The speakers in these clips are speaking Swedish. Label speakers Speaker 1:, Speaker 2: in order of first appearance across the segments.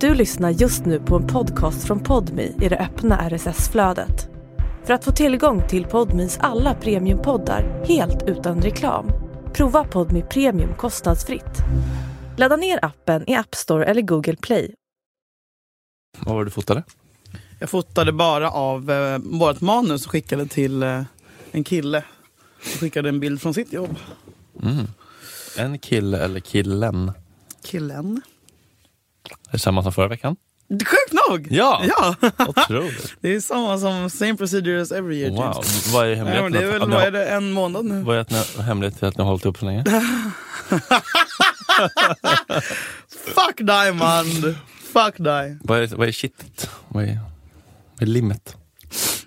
Speaker 1: Du lyssnar just nu på en podcast från Podmi i det öppna RSS-flödet. För att få tillgång till Podmis alla premiumpoddar helt utan reklam, prova Podmi Premium kostnadsfritt. Ladda ner appen i App Store eller Google Play.
Speaker 2: Vad var det du fotade?
Speaker 3: Jag fotade bara av eh, vårt manus och skickade till eh, en kille. Och skickade en bild från sitt jobb.
Speaker 2: En kille eller killen?
Speaker 3: Killen.
Speaker 2: Är det samma som förra veckan?
Speaker 3: Sjukt nog!
Speaker 2: Ja!
Speaker 3: ja.
Speaker 2: Otroligt.
Speaker 3: Det är samma som same procedure as every year.
Speaker 2: Wow.
Speaker 3: typ.
Speaker 2: Vad är
Speaker 3: Ja, men
Speaker 2: hemligheten?
Speaker 3: det
Speaker 2: att-
Speaker 3: är väl
Speaker 2: att ni
Speaker 3: vad
Speaker 2: har-
Speaker 3: är det, en månad nu.
Speaker 2: Vad är det- hemligheten till att ni har hållit upp så länge?
Speaker 3: Fuck Diamond! Fuck dig.
Speaker 2: vad, är, vad är kittet? Vad är, vad är limmet?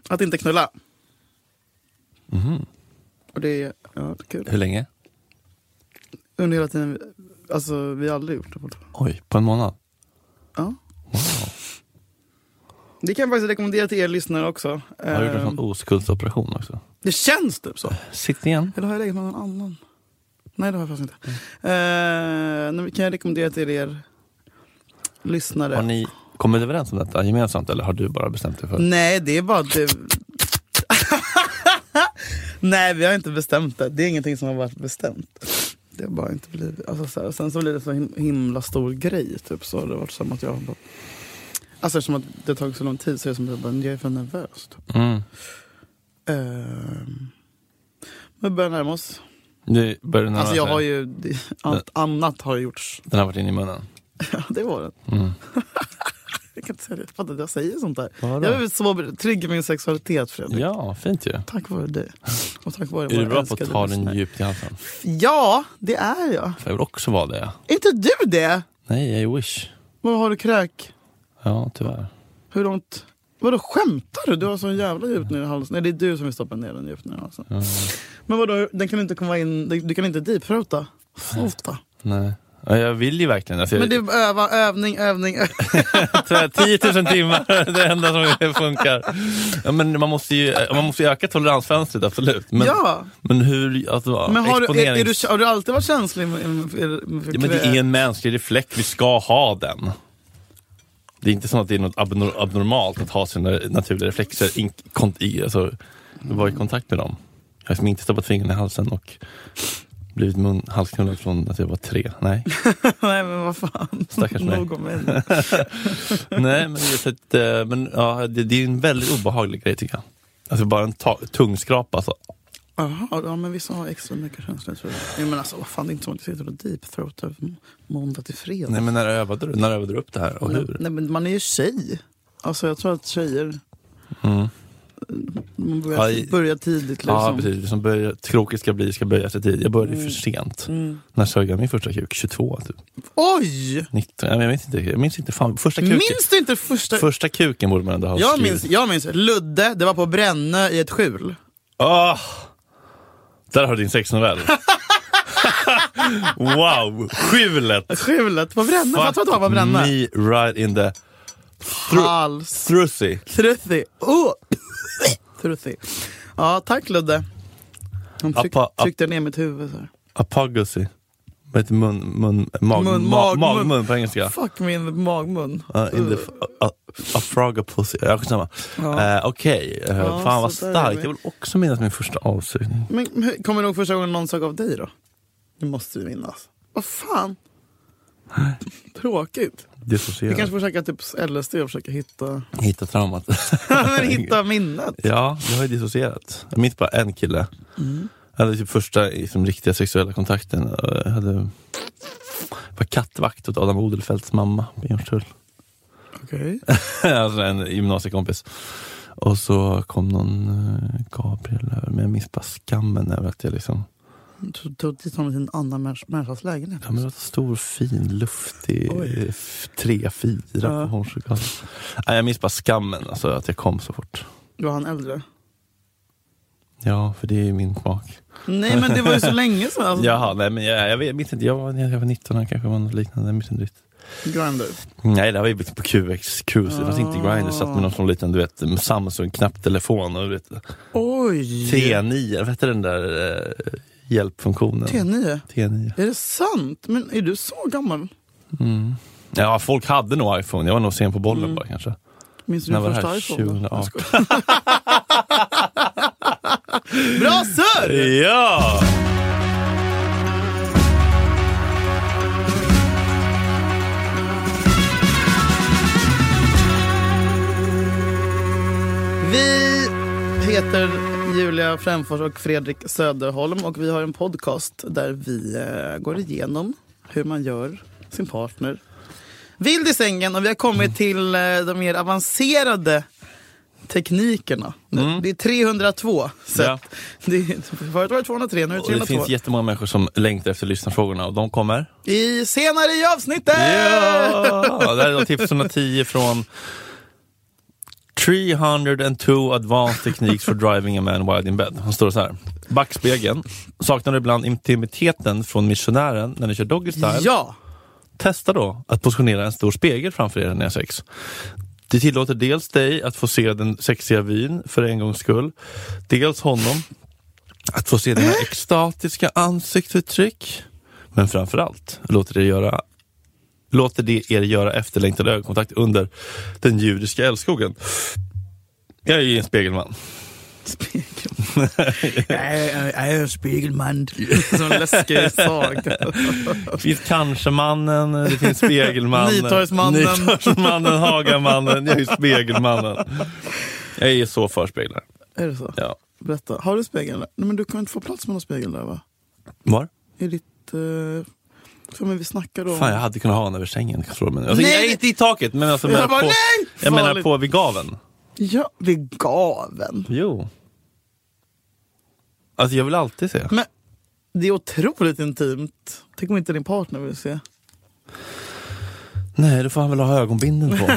Speaker 3: Att inte knulla.
Speaker 2: Mhm.
Speaker 3: Och det är ja, det är kul.
Speaker 2: Hur länge?
Speaker 3: Under hela tiden, vi- alltså vi har aldrig gjort det. fortfarande.
Speaker 2: Oj, på en månad?
Speaker 3: Ja. Det kan jag faktiskt rekommendera till er lyssnare också.
Speaker 2: Har du gjort en
Speaker 3: Ehm,
Speaker 2: sån oskuldsoperation också?
Speaker 3: det känns typ så.
Speaker 2: Sitt igen.
Speaker 3: Eller har jag legat med någon annan? Nej, det har jag faktiskt inte.
Speaker 2: Mm.
Speaker 3: Eh, nej, men kan jag rekommendera till er lyssnare?
Speaker 2: Har ni kommit överens om detta gemensamt eller har du bara bestämt dig för det?
Speaker 3: Nej, det är bara du. nej, vi har inte bestämt det. Det är ingenting som har varit bestämt. Det har bara inte blivit... Alltså, så här, sen så blir det så him- himla stor grej. Typ, så har det varit som att jag har bara... Alltså eftersom att det har tagit så lång tid så är det som att jag, bara, jag är för nervös. Typ.
Speaker 2: Mm.
Speaker 3: Ehm, men vi börjar närma oss.
Speaker 2: Nu börjar den,
Speaker 3: Alltså
Speaker 2: här,
Speaker 3: jag har ju... Allt annat har gjorts.
Speaker 2: den har varit inne i munnen.
Speaker 3: Ja, det var den.
Speaker 2: Mm.
Speaker 3: Jag kan inte säga det. Fattar att jag säger sånt där.
Speaker 2: Vadå?
Speaker 3: Jag har blivit så ber- trygg i min sexualitet Fredrik.
Speaker 2: Ja, fint ju.
Speaker 3: Tack vare dig. Och tack vare
Speaker 2: Är du
Speaker 3: våra
Speaker 2: bra på
Speaker 3: älskade
Speaker 2: att ta den
Speaker 3: lyssnare.
Speaker 2: djupt i halsen?
Speaker 3: Ja, det är jag.
Speaker 2: För jag vill också vara det.
Speaker 3: Är inte du det?
Speaker 2: Nej, I wish.
Speaker 3: Vad har du kräk?
Speaker 2: Ja, tyvärr.
Speaker 3: Hur långt? Vadå skämtar du? Du har sån jävla djupt ner i halsen. Nej det är du som vill stoppa ner den djupt ner i halsen.
Speaker 2: Mm.
Speaker 3: Men vadå, den kan inte komma in, du kan inte deepthroata? Sluta.
Speaker 2: Nej. Ja, jag vill ju verkligen alltså,
Speaker 3: Men
Speaker 2: jag,
Speaker 3: det är öva, övning, övning, övning.
Speaker 2: tyvärr, 10 000 timmar är det enda som funkar. Ja, men man måste ju man måste ju öka toleransfönstret, absolut. Men,
Speaker 3: Ja.
Speaker 2: men hur... Alltså,
Speaker 3: Men har du, är, är
Speaker 2: exponerings-
Speaker 3: du, har du alltid varit känslig med, med, med, med
Speaker 2: ja, men det är en mänsklig reflex, vi ska ha den. Det är inte så att det är något abnor- abnormalt att ha sina naturliga reflexer in, kont, i, alltså, vara i kontakt med dem. Jag har liksom inte stoppat fingrarna i halsen och blivit mun, halsknullad från att jag var tre. Nej.
Speaker 3: Nej men vad fan.
Speaker 2: Stackars mig.
Speaker 3: Nog om mig.
Speaker 2: Nej, men, just att, eh, men ja, det, det är en väldigt obehaglig grej tycker jag. Alltså bara en ta- tungskrapa. Alltså.
Speaker 3: Jaha, ja, men vissa har extra mycket känslor tror jag. Nej, men alltså vad fan, det är inte som att jag sitter och deepthroatar m- måndag till fredag.
Speaker 2: Nej, men när övade du? Mm. När övade du upp det här och hur?
Speaker 3: Nej, men man är ju tjej. Alltså jag tror att tjejer,
Speaker 2: Mm.
Speaker 3: man börjar,
Speaker 2: Ja, i-
Speaker 3: börjar tidigt liksom.
Speaker 2: Ja, precis. Det som börjar, kroket ska bli, ska böja sig tidigt. Jag började ju för sent. När sög jag min första kuk? 22, typ.
Speaker 3: Oj!
Speaker 2: 19? Nej, men Jag minns inte. Jag minns inte fan. Första kuken.
Speaker 3: Minns du inte första...
Speaker 2: Första kuken borde man ändå ha
Speaker 3: jag,
Speaker 2: skrivit.
Speaker 3: minns, jag minns Ludde, det var på Brännö i ett skjul.
Speaker 2: Ah! Där har du din sexnovell. wow! Skjulet!
Speaker 3: Skjulet på Brännö, fattar du att det var
Speaker 2: Fuck
Speaker 3: på Brännö?
Speaker 2: me right in the
Speaker 3: Hals.
Speaker 2: thrussy.
Speaker 3: Truthy. Oh. Truthy. Ja, tack Ludde. Han tryck,
Speaker 2: Appa- app-
Speaker 3: tryckte ner mitt huvud. Så här.
Speaker 2: Apagacy. Vad heter mun, mun, mag,
Speaker 3: Mun,
Speaker 2: ma,
Speaker 3: mag,
Speaker 2: magmun
Speaker 3: mun.
Speaker 2: på engelska?
Speaker 3: Fuck min magmun.
Speaker 2: Uh, in the, a, a frogapusy. Ja, skitsamma.
Speaker 3: Ja.
Speaker 2: Eh, Okej, Eh,
Speaker 3: Ja,
Speaker 2: fan vad
Speaker 3: så där är
Speaker 2: starkt.
Speaker 3: vi.
Speaker 2: Jag vill också minnas min första avsugning.
Speaker 3: Men hur- kommer du ihåg första gången någon sög av dig då? Det måste vi minnas. Vad fan? Tråkigt. Vi
Speaker 2: Dissocierad.
Speaker 3: kanske får käka typ LSD och försöka hitta,
Speaker 2: Hitta traumat.
Speaker 3: men hitta minnet.
Speaker 2: ja, jag har ju dissocierat. Jag minns bara en kille. Jag hade typ första liksom, riktiga sexuella kontakten. Eh, Jag hade, jag var kattvakt åt Adam Odelfeldts mamma på Björnstull.
Speaker 3: Okej.
Speaker 2: alltså en gymnasiekompis. Och så kom någon eh, Gabriel över, men jag minns bara skammen över att jag liksom...
Speaker 3: Du tog dit honom till en annan människa- människas lägenhet.
Speaker 2: Ja, men det var en stor, fin, luftig eh,
Speaker 3: Oj.
Speaker 2: f- tre, fyra på
Speaker 3: Ja.
Speaker 2: Hornsjögatan. Nej, jag minns bara skammen, alltså att jag kom så fort.
Speaker 3: Var han äldre?
Speaker 2: Ja, för det är min smak.
Speaker 3: Nej men det var ju så länge sedan. Alltså,
Speaker 2: Jaha, nej men jag, jag, vet, jag minns inte, jag var, jag var 19, han kanske var något liknande, jag minns inte riktigt.
Speaker 3: Grindr.
Speaker 2: Nej, det här var ju liksom på QX, QX, det fanns inte
Speaker 3: Ah.
Speaker 2: Grindr, satt med någon sån liten du vet, mm, Samsung-knapptelefon och du vet,
Speaker 3: Oj!
Speaker 2: T9, vad hette den där eh, hjälpfunktionen?
Speaker 3: T9.
Speaker 2: T9.
Speaker 3: Är det sant? Men är du så gammal?
Speaker 2: Mm. Ja, folk hade nog iPhone. Jag var nog sen på bollen bara kanske.
Speaker 3: Minns Mm. du
Speaker 2: När
Speaker 3: din
Speaker 2: var det
Speaker 3: första
Speaker 2: här?
Speaker 3: iPhone? då?
Speaker 2: 2018.
Speaker 3: Jag skojar. Bra surr!
Speaker 2: Ja!
Speaker 3: Vi heter Julia Fränfors och Fredrik Söderholm och vi har en podcast där vi eh, går igenom hur man gör sin partner vild i sängen och vi har
Speaker 2: Mm.
Speaker 3: kommit till eh, de mer avancerade teknikerna. nu. Det är 302 sätt.
Speaker 2: Mm. Ja.
Speaker 3: Det är, förut var det 203, nu är det
Speaker 2: Och det
Speaker 3: 302.
Speaker 2: finns jättemånga människor som längtar efter lyssnarfrågorna och de kommer.
Speaker 3: I senare i avsnittet!
Speaker 2: Ja! Det här är då tips 110 från 302 advanced techniques for driving a man wild in bed. Han står så här. Backspegeln. Saknar du ibland intimiteten från missionären när ni kör doggy style?
Speaker 3: Ja!
Speaker 2: Testa då att positionera en stor spegel framför er när ni har sex. Det tillåter dels dig att få se den sexiga vyn för en gångs skull. Dels honom att få se dina extatiska ansiktsuttryck. Men framförallt låter det göra låter det er göra efterlängtad ögonkontakt under den judiska älskogen. Jag är ju en spegelman.
Speaker 3: Spegelman. Jag är- jag är en spegelman. Som en läskig saga.
Speaker 2: Det finns Kanske-mannen, det finns Spegelmannen,
Speaker 3: Nytorgsmannen.
Speaker 2: Nytorgsmannen, Hagamannen, jag är ju Spegelmannen. Jag är så för speglar.
Speaker 3: Är det så?
Speaker 2: Ja.
Speaker 3: Berätta. Har du spegel? där? Nej, men du kan inte få plats med någon spegel där va?
Speaker 2: Var?
Speaker 3: I ditt... Eh... Ja, men vi snackade om...
Speaker 2: Fan, jag hade kunnat ha en över sängen. Tror jag, men. Alltså,
Speaker 3: Nej,
Speaker 2: jag är
Speaker 3: det-
Speaker 2: inte i taket, men alltså,
Speaker 3: Jag
Speaker 2: menar
Speaker 3: bara,
Speaker 2: på,
Speaker 3: nej!
Speaker 2: jag menar
Speaker 3: Farligt.
Speaker 2: på vid gaven.
Speaker 3: Ja, vid gaven.
Speaker 2: Jo. Alltså jag vill alltid se.
Speaker 3: Men det är otroligt intimt. Tänk om inte din partner vill se.
Speaker 2: Nej, då får han väl ha ögonbindeln på.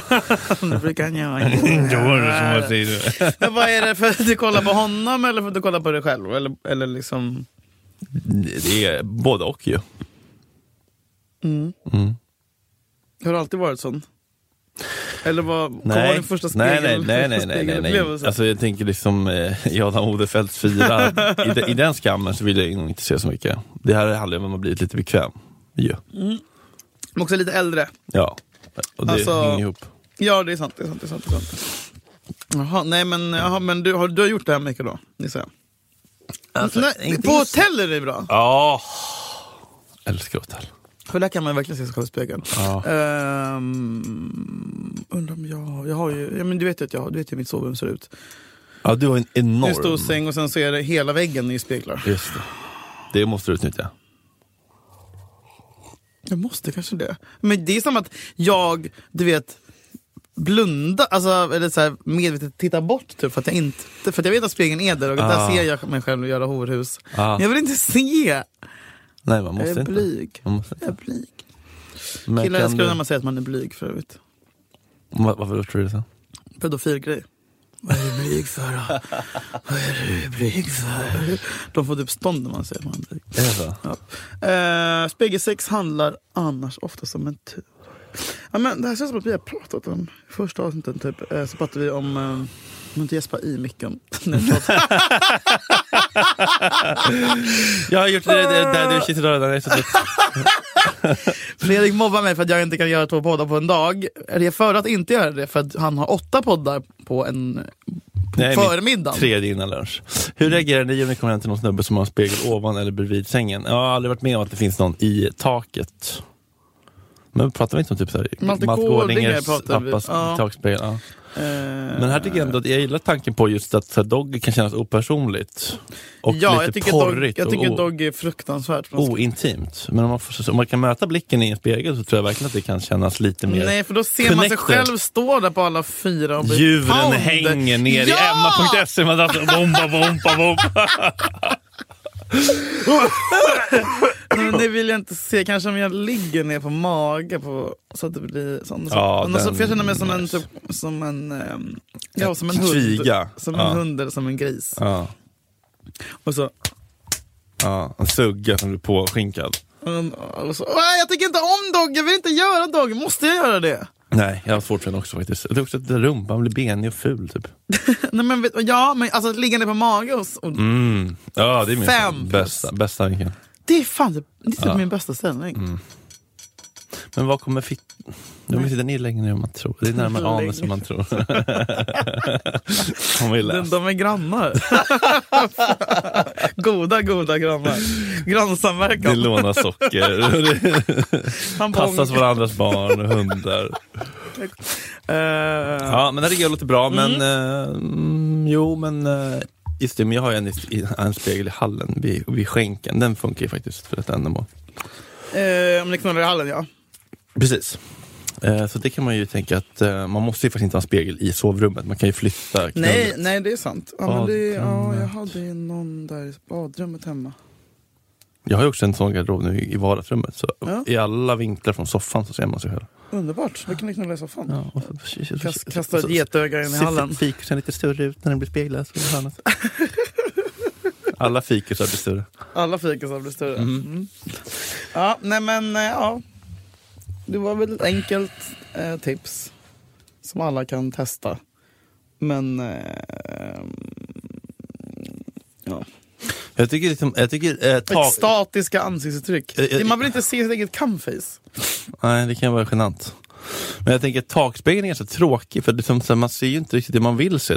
Speaker 3: Det brukar han göra.
Speaker 2: säger.
Speaker 3: Men vad är det för att du kollar på honom eller för att du kollar på dig själv? Eller, eller liksom...
Speaker 2: Det är både och ju.
Speaker 3: Mm.
Speaker 2: Mm.
Speaker 3: Har du alltid varit sån? Eller vad vad var din första
Speaker 2: nej,
Speaker 3: spegel?
Speaker 2: nej, nej, nej,
Speaker 3: första
Speaker 2: nej, nej, nej.
Speaker 3: spegelupplevelse?
Speaker 2: Alltså jag tänker liksom eh, Adam Odefeldts fyra. I, de, I den skammen så vill jag nog inte se så mycket. Det här handlar om att man blivit lite bekväm. Ja.
Speaker 3: Men också lite äldre.
Speaker 2: ja. Och det
Speaker 3: Alltså-
Speaker 2: hänger ihop.
Speaker 3: Ja, det är sant. Det är sant, det är sant, det är sant. Jaha, nej men, jaha, men du, har, du har gjort det här mycket då, gissar jag? nej,
Speaker 2: Alltså, inte
Speaker 3: på
Speaker 2: just-
Speaker 3: hotell är det bra.
Speaker 2: Ja. Älskar hotell.
Speaker 3: För där kan man verkligen se sig själv i spegeln.
Speaker 2: Ja.
Speaker 3: Ehm, undrar om jag, jag har ju, ja, men du vet ju att jag har, du vet ju hur mitt sovrum ser ut.
Speaker 2: ja, du har en
Speaker 3: Det är
Speaker 2: enorm...
Speaker 3: en stor säng och sen så är det hela väggen i speglar.
Speaker 2: Just det. det måste du utnyttja.
Speaker 3: Jag måste kanske det. Men det är som att jag, du vet, blunda, alltså eller så här, medvetet titta bort typ, för att jag inte, för att jag vet att spegeln är där och
Speaker 2: Ah.
Speaker 3: där ser jag mig själv göra horhus.
Speaker 2: Ah.
Speaker 3: Men Alltså- Jag vill inte se!
Speaker 2: Nej, man måste
Speaker 3: jag är
Speaker 2: inte.
Speaker 3: blyg.
Speaker 2: Man måste
Speaker 3: Jag är
Speaker 2: inte.
Speaker 3: blyg.
Speaker 2: Men
Speaker 3: Eh, Killar
Speaker 2: kan
Speaker 3: älskar
Speaker 2: du...
Speaker 3: när man säger att man är blyg för övrigt.
Speaker 2: Va- Varför tror du det? så?
Speaker 3: Pedofilgrej. Vad är du blyg för då? Vad är du blyg för? De får typ stånd när man säger att man är blyg.
Speaker 2: Är det så?
Speaker 3: Ja. Eh, spegelsex handlar annars oftast om en tur. Ja, men det här känns som att vi har pratat om i första avsnittet. Typ, eh, så pratade vi om... Eh, om inte gäspa i micken. Nej, förlåt.
Speaker 2: Jag har gjort det där, där du sitter och rörar
Speaker 3: Fredrik mobbar mig för att jag inte kan göra två poddar på en dag. Eller jag föredrar att inte göra det för att han har åtta poddar på en
Speaker 2: Nej, min-
Speaker 3: förmiddag.
Speaker 2: Tredje innan lunch. Hur reagerar ni om ni kommer hem till någon snubbe som har en spegel ovan eller bredvid sängen? Jag har aldrig varit med om att det finns någon i taket. Men pratar vi inte om typ såhär,
Speaker 3: Malte Gårdinger pratar vi-
Speaker 2: pappas
Speaker 3: ja.
Speaker 2: takspegel? Ja.
Speaker 3: Eh,
Speaker 2: Men här tycker jag ändå att jag gillar tanken på just att så här, dogg kan kännas opersonligt. Och
Speaker 3: ja,
Speaker 2: lite
Speaker 3: jag tycker
Speaker 2: porrigt
Speaker 3: Dog, jag tycker
Speaker 2: och o-
Speaker 3: dog är fruktansvärt. Man ska-
Speaker 2: ointimt. Men om man, får, så- om man kan möta blicken i en spegel så tror jag verkligen att det kan kännas lite mer...
Speaker 3: Nej, för då ser man sig
Speaker 2: connected.
Speaker 3: själv stå där på alla fyra och bli
Speaker 2: Djuren
Speaker 3: pound.
Speaker 2: hänger ner i emma.se. Man dansar bomba, bomba, bomba.
Speaker 3: Nej, men det vill jag inte se. Kanske om jag ligger ner på mage på, så att det blir sån. Så,
Speaker 2: Ja,
Speaker 3: annars så
Speaker 2: den-
Speaker 3: för jag känner mig som en, typ, som en, ehm, ja, som en hund.
Speaker 2: Tviga.
Speaker 3: Som
Speaker 2: Ja.
Speaker 3: en hund eller som en gris.
Speaker 2: Ja.
Speaker 3: Och så,
Speaker 2: Ja, en sugga som blir påskinkad.
Speaker 3: och så "Åh, jag tycker inte om dog, jag vill inte göra dog. Måste jag göra det?
Speaker 2: Nej, jag har svårt för den också faktiskt. Det är också att rumpan blir benig och ful typ.
Speaker 3: Nej, men, vet- ja, men alltså att ligga ner på mage och, och
Speaker 2: Mm. Ja, det är min
Speaker 3: Fem plus.
Speaker 2: bästa, Mm. bästa tanken.
Speaker 3: det är fan det är typ
Speaker 2: Ja.
Speaker 3: min bästa ställning.
Speaker 2: Men vad kommer fit... Jag vet, inte, den är längre än man tror. Det är närmare
Speaker 3: Längre.
Speaker 2: anus än man tror. Har man ju
Speaker 3: De,
Speaker 2: läst.
Speaker 3: de är grannar. goda, goda grannar.
Speaker 2: Det
Speaker 3: Grannsamverkan.
Speaker 2: lånar socker. Det
Speaker 3: Han på
Speaker 2: passas
Speaker 3: Ång-
Speaker 2: varandras barn och hundar.
Speaker 3: Eh,
Speaker 2: Ja, men det här låter bra. Men eh, mm, jo, men eh, just det, men jag har ju en, i- en spegel i hallen vid, vid skänken. Den funkar ju faktiskt för ett ändamål.
Speaker 3: eh, Om ni knullar i hallen, ja.
Speaker 2: Precis. Eh, Så det kan man ju tänka att eh, man måste ju faktiskt inte ha en spegel i sovrummet. Man kan ju flytta knullet.
Speaker 3: Nej, nej, det är sant. Ja, men det, ja, jag
Speaker 2: Badrummet.
Speaker 3: hade ju någon där i badrummet hemma.
Speaker 2: Jag har ju också en sån garderob nu i vardagsrummet. Så
Speaker 3: Ja.
Speaker 2: I alla vinklar från soffan så ser man sig själv.
Speaker 3: Underbart. Då kan ni knulla i soffan.
Speaker 2: Ja, och så-
Speaker 3: Kast, kasta ett getöga in i
Speaker 2: Ser
Speaker 3: hallen.
Speaker 2: Fikusen lite större ut när den blir speglad. så det hörnas. Alla fikusar blir större.
Speaker 3: Alla fikisar blir större.
Speaker 2: Mm.
Speaker 3: Mm. Ja, nej men eh, ja. Det var väl ett enkelt eh, tips som alla kan testa. Men eh,
Speaker 2: Jag tycker, liksom, jag tycker eh, ta...
Speaker 3: extatiska ansiktsuttryck.
Speaker 2: Eh, eh,
Speaker 3: Man vill inte se sitt eget camface.
Speaker 2: Nej, det kan vara genant. Men jag tänker att takspegeln är ganska tråkig för det är som, så här, man ser ju inte riktigt det man vill se.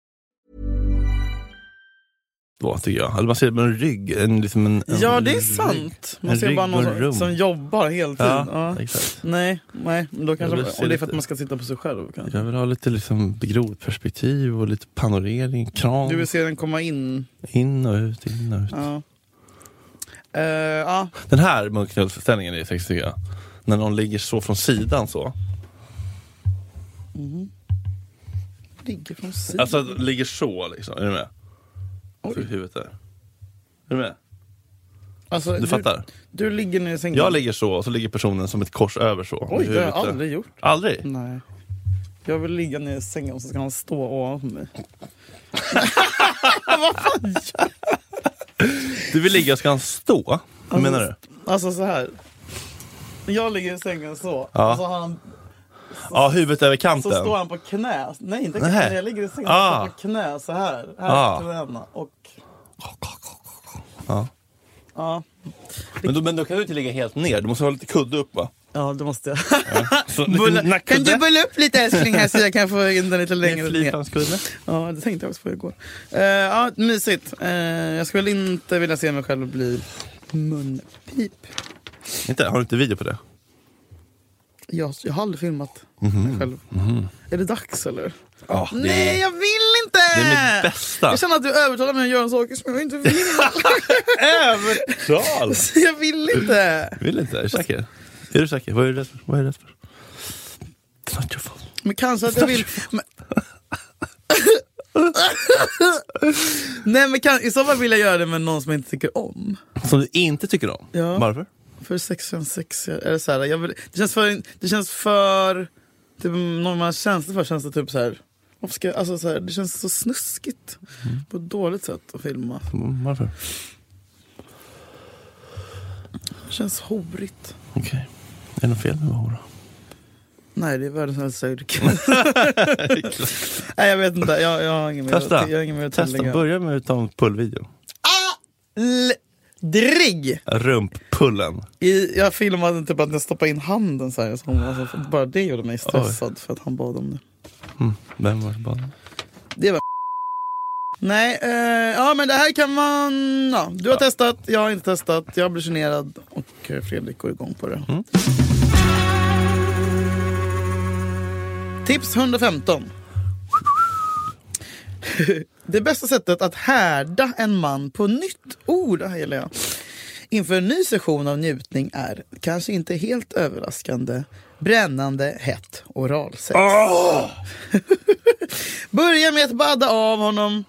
Speaker 2: Då, tycker jag. Eller man ser med en rygg. En, liksom en, en
Speaker 3: Ja, det är
Speaker 2: rygg.
Speaker 3: sant. Man
Speaker 2: En
Speaker 3: ser
Speaker 2: rygg
Speaker 3: bara
Speaker 2: och
Speaker 3: någon
Speaker 2: en
Speaker 3: som,
Speaker 2: rum.
Speaker 3: som jobbar heltid.
Speaker 2: Ja,
Speaker 3: Ja.
Speaker 2: exakt.
Speaker 3: Nej, nej. men Då kanske,
Speaker 2: Jag vill se
Speaker 3: om det är för att
Speaker 2: lite-
Speaker 3: man ska sitta på sig själv. Kanske.
Speaker 2: Jag vill ha lite liksom, grodperspektiv och lite panorering, kran.
Speaker 3: Du vill se den komma in.
Speaker 2: In och ut, in och ut.
Speaker 3: Ja. Eh, ja.
Speaker 2: Den här munknullsföreställningen är faktiskt tycker jag. När någon ligger så från sidan så.
Speaker 3: Ligger från sidan.
Speaker 2: Alltså att ligger så liksom, är du med?
Speaker 3: Oj.
Speaker 2: För huvudet där. Är du med?
Speaker 3: Alltså,
Speaker 2: Du fattar?
Speaker 3: Du ligger ner i sängen.
Speaker 2: Jag ligger så och så ligger personen som ett kors över så. med
Speaker 3: Mm. Oj, det har jag
Speaker 2: huvudet där.
Speaker 3: aldrig gjort. Mm.
Speaker 2: Aldrig?
Speaker 3: Nej. Jag vill ligga ner i sängen och så ska han stå ovanför mig.
Speaker 2: Du vill ligga, ska han stå? Vad menar du?
Speaker 3: Alltså så här. Jag ligger i sängen så.
Speaker 2: Ja.
Speaker 3: Och så, har han,
Speaker 2: Ja, huvudet över
Speaker 3: så
Speaker 2: kanten.
Speaker 3: står han på knä. Nej, inte
Speaker 2: Nähä.
Speaker 3: knä. Jag ligger i sängen
Speaker 2: Ah.
Speaker 3: ah. på knä så här. Här
Speaker 2: Ah.
Speaker 3: på knäna. Och
Speaker 2: Ja.
Speaker 3: ja,
Speaker 2: Men, då, men då kan du inte ligga helt ner, du måste ha lite kudde upp va?
Speaker 3: ja det måste jag.
Speaker 2: Så,
Speaker 3: Ah, Bulla,
Speaker 2: lite
Speaker 3: kan
Speaker 2: nackkudde.
Speaker 3: du bulla upp lite älskling här så jag kan få in den lite längre
Speaker 2: Ingen
Speaker 3: ner?
Speaker 2: flygplanskudde?
Speaker 3: Ja, det tänkte jag också på igår. Eh, ja, mysigt. Eh, jag skulle inte vilja se mig själv bli munpip.
Speaker 2: Inte? Har du inte video på det?
Speaker 3: Jag, jag har aldrig filmat
Speaker 2: Mhm.
Speaker 3: mig själv. Är det dags eller?
Speaker 2: Ja, det är-
Speaker 3: Nej, jag vill inte!
Speaker 2: Det är mitt bästa.
Speaker 3: Jag känner att du övertalar mig att göra saker som jag inte vill.
Speaker 2: Övertal!
Speaker 3: jag vill inte!
Speaker 2: Vill inte? Är du säker? Är du säker? Vad är du rädd för? Vad är du rädd för? It's not your fault.
Speaker 3: Men kanske att jag vill... Men... Nej men kan, i så fall vill jag göra det med någon som jag inte tycker om.
Speaker 2: Som du inte tycker om?
Speaker 3: Ja.
Speaker 2: Varför?
Speaker 3: För sex känns sexigare. Eller så här, jag vill, det känns för... Det känns för typ, någon man har känslor för känns det typ så här... Varför ska, jag- alltså så här, det känns så snuskigt på ett dåligt sätt att filma.
Speaker 2: Mm, Varför?
Speaker 3: Det känns horigt.
Speaker 2: Okej. Är det något fel med att vara hora?
Speaker 3: Nej, det är världens äldsta yrke. Nej, jag vet inte. Jag, jag har inget mer
Speaker 2: Testa.
Speaker 3: att- Jag har inget mer att
Speaker 2: Testa.
Speaker 3: tillägga.
Speaker 2: Börja med att ta en pullvideo.
Speaker 3: Aldrig!
Speaker 2: Rumppullen.
Speaker 3: I, jag filmade typ att jag stoppade in handen så här. Så hon, alltså, bara det gjorde mig stressad för att han bad om det. Mm.
Speaker 2: Vem var det som bad?
Speaker 3: Det var Nej, eh, ja men det här kan man... Ja, du har testat, jag har inte testat. Jag blir generad och eh, Fredrik går igång på det. Tips 115. det bästa sättet att härda en man på nytt ord, det här gillar jag. Inför en ny session av njutning är, kanske inte helt överraskande, brännande hett oralsex. Börja med att badda av honom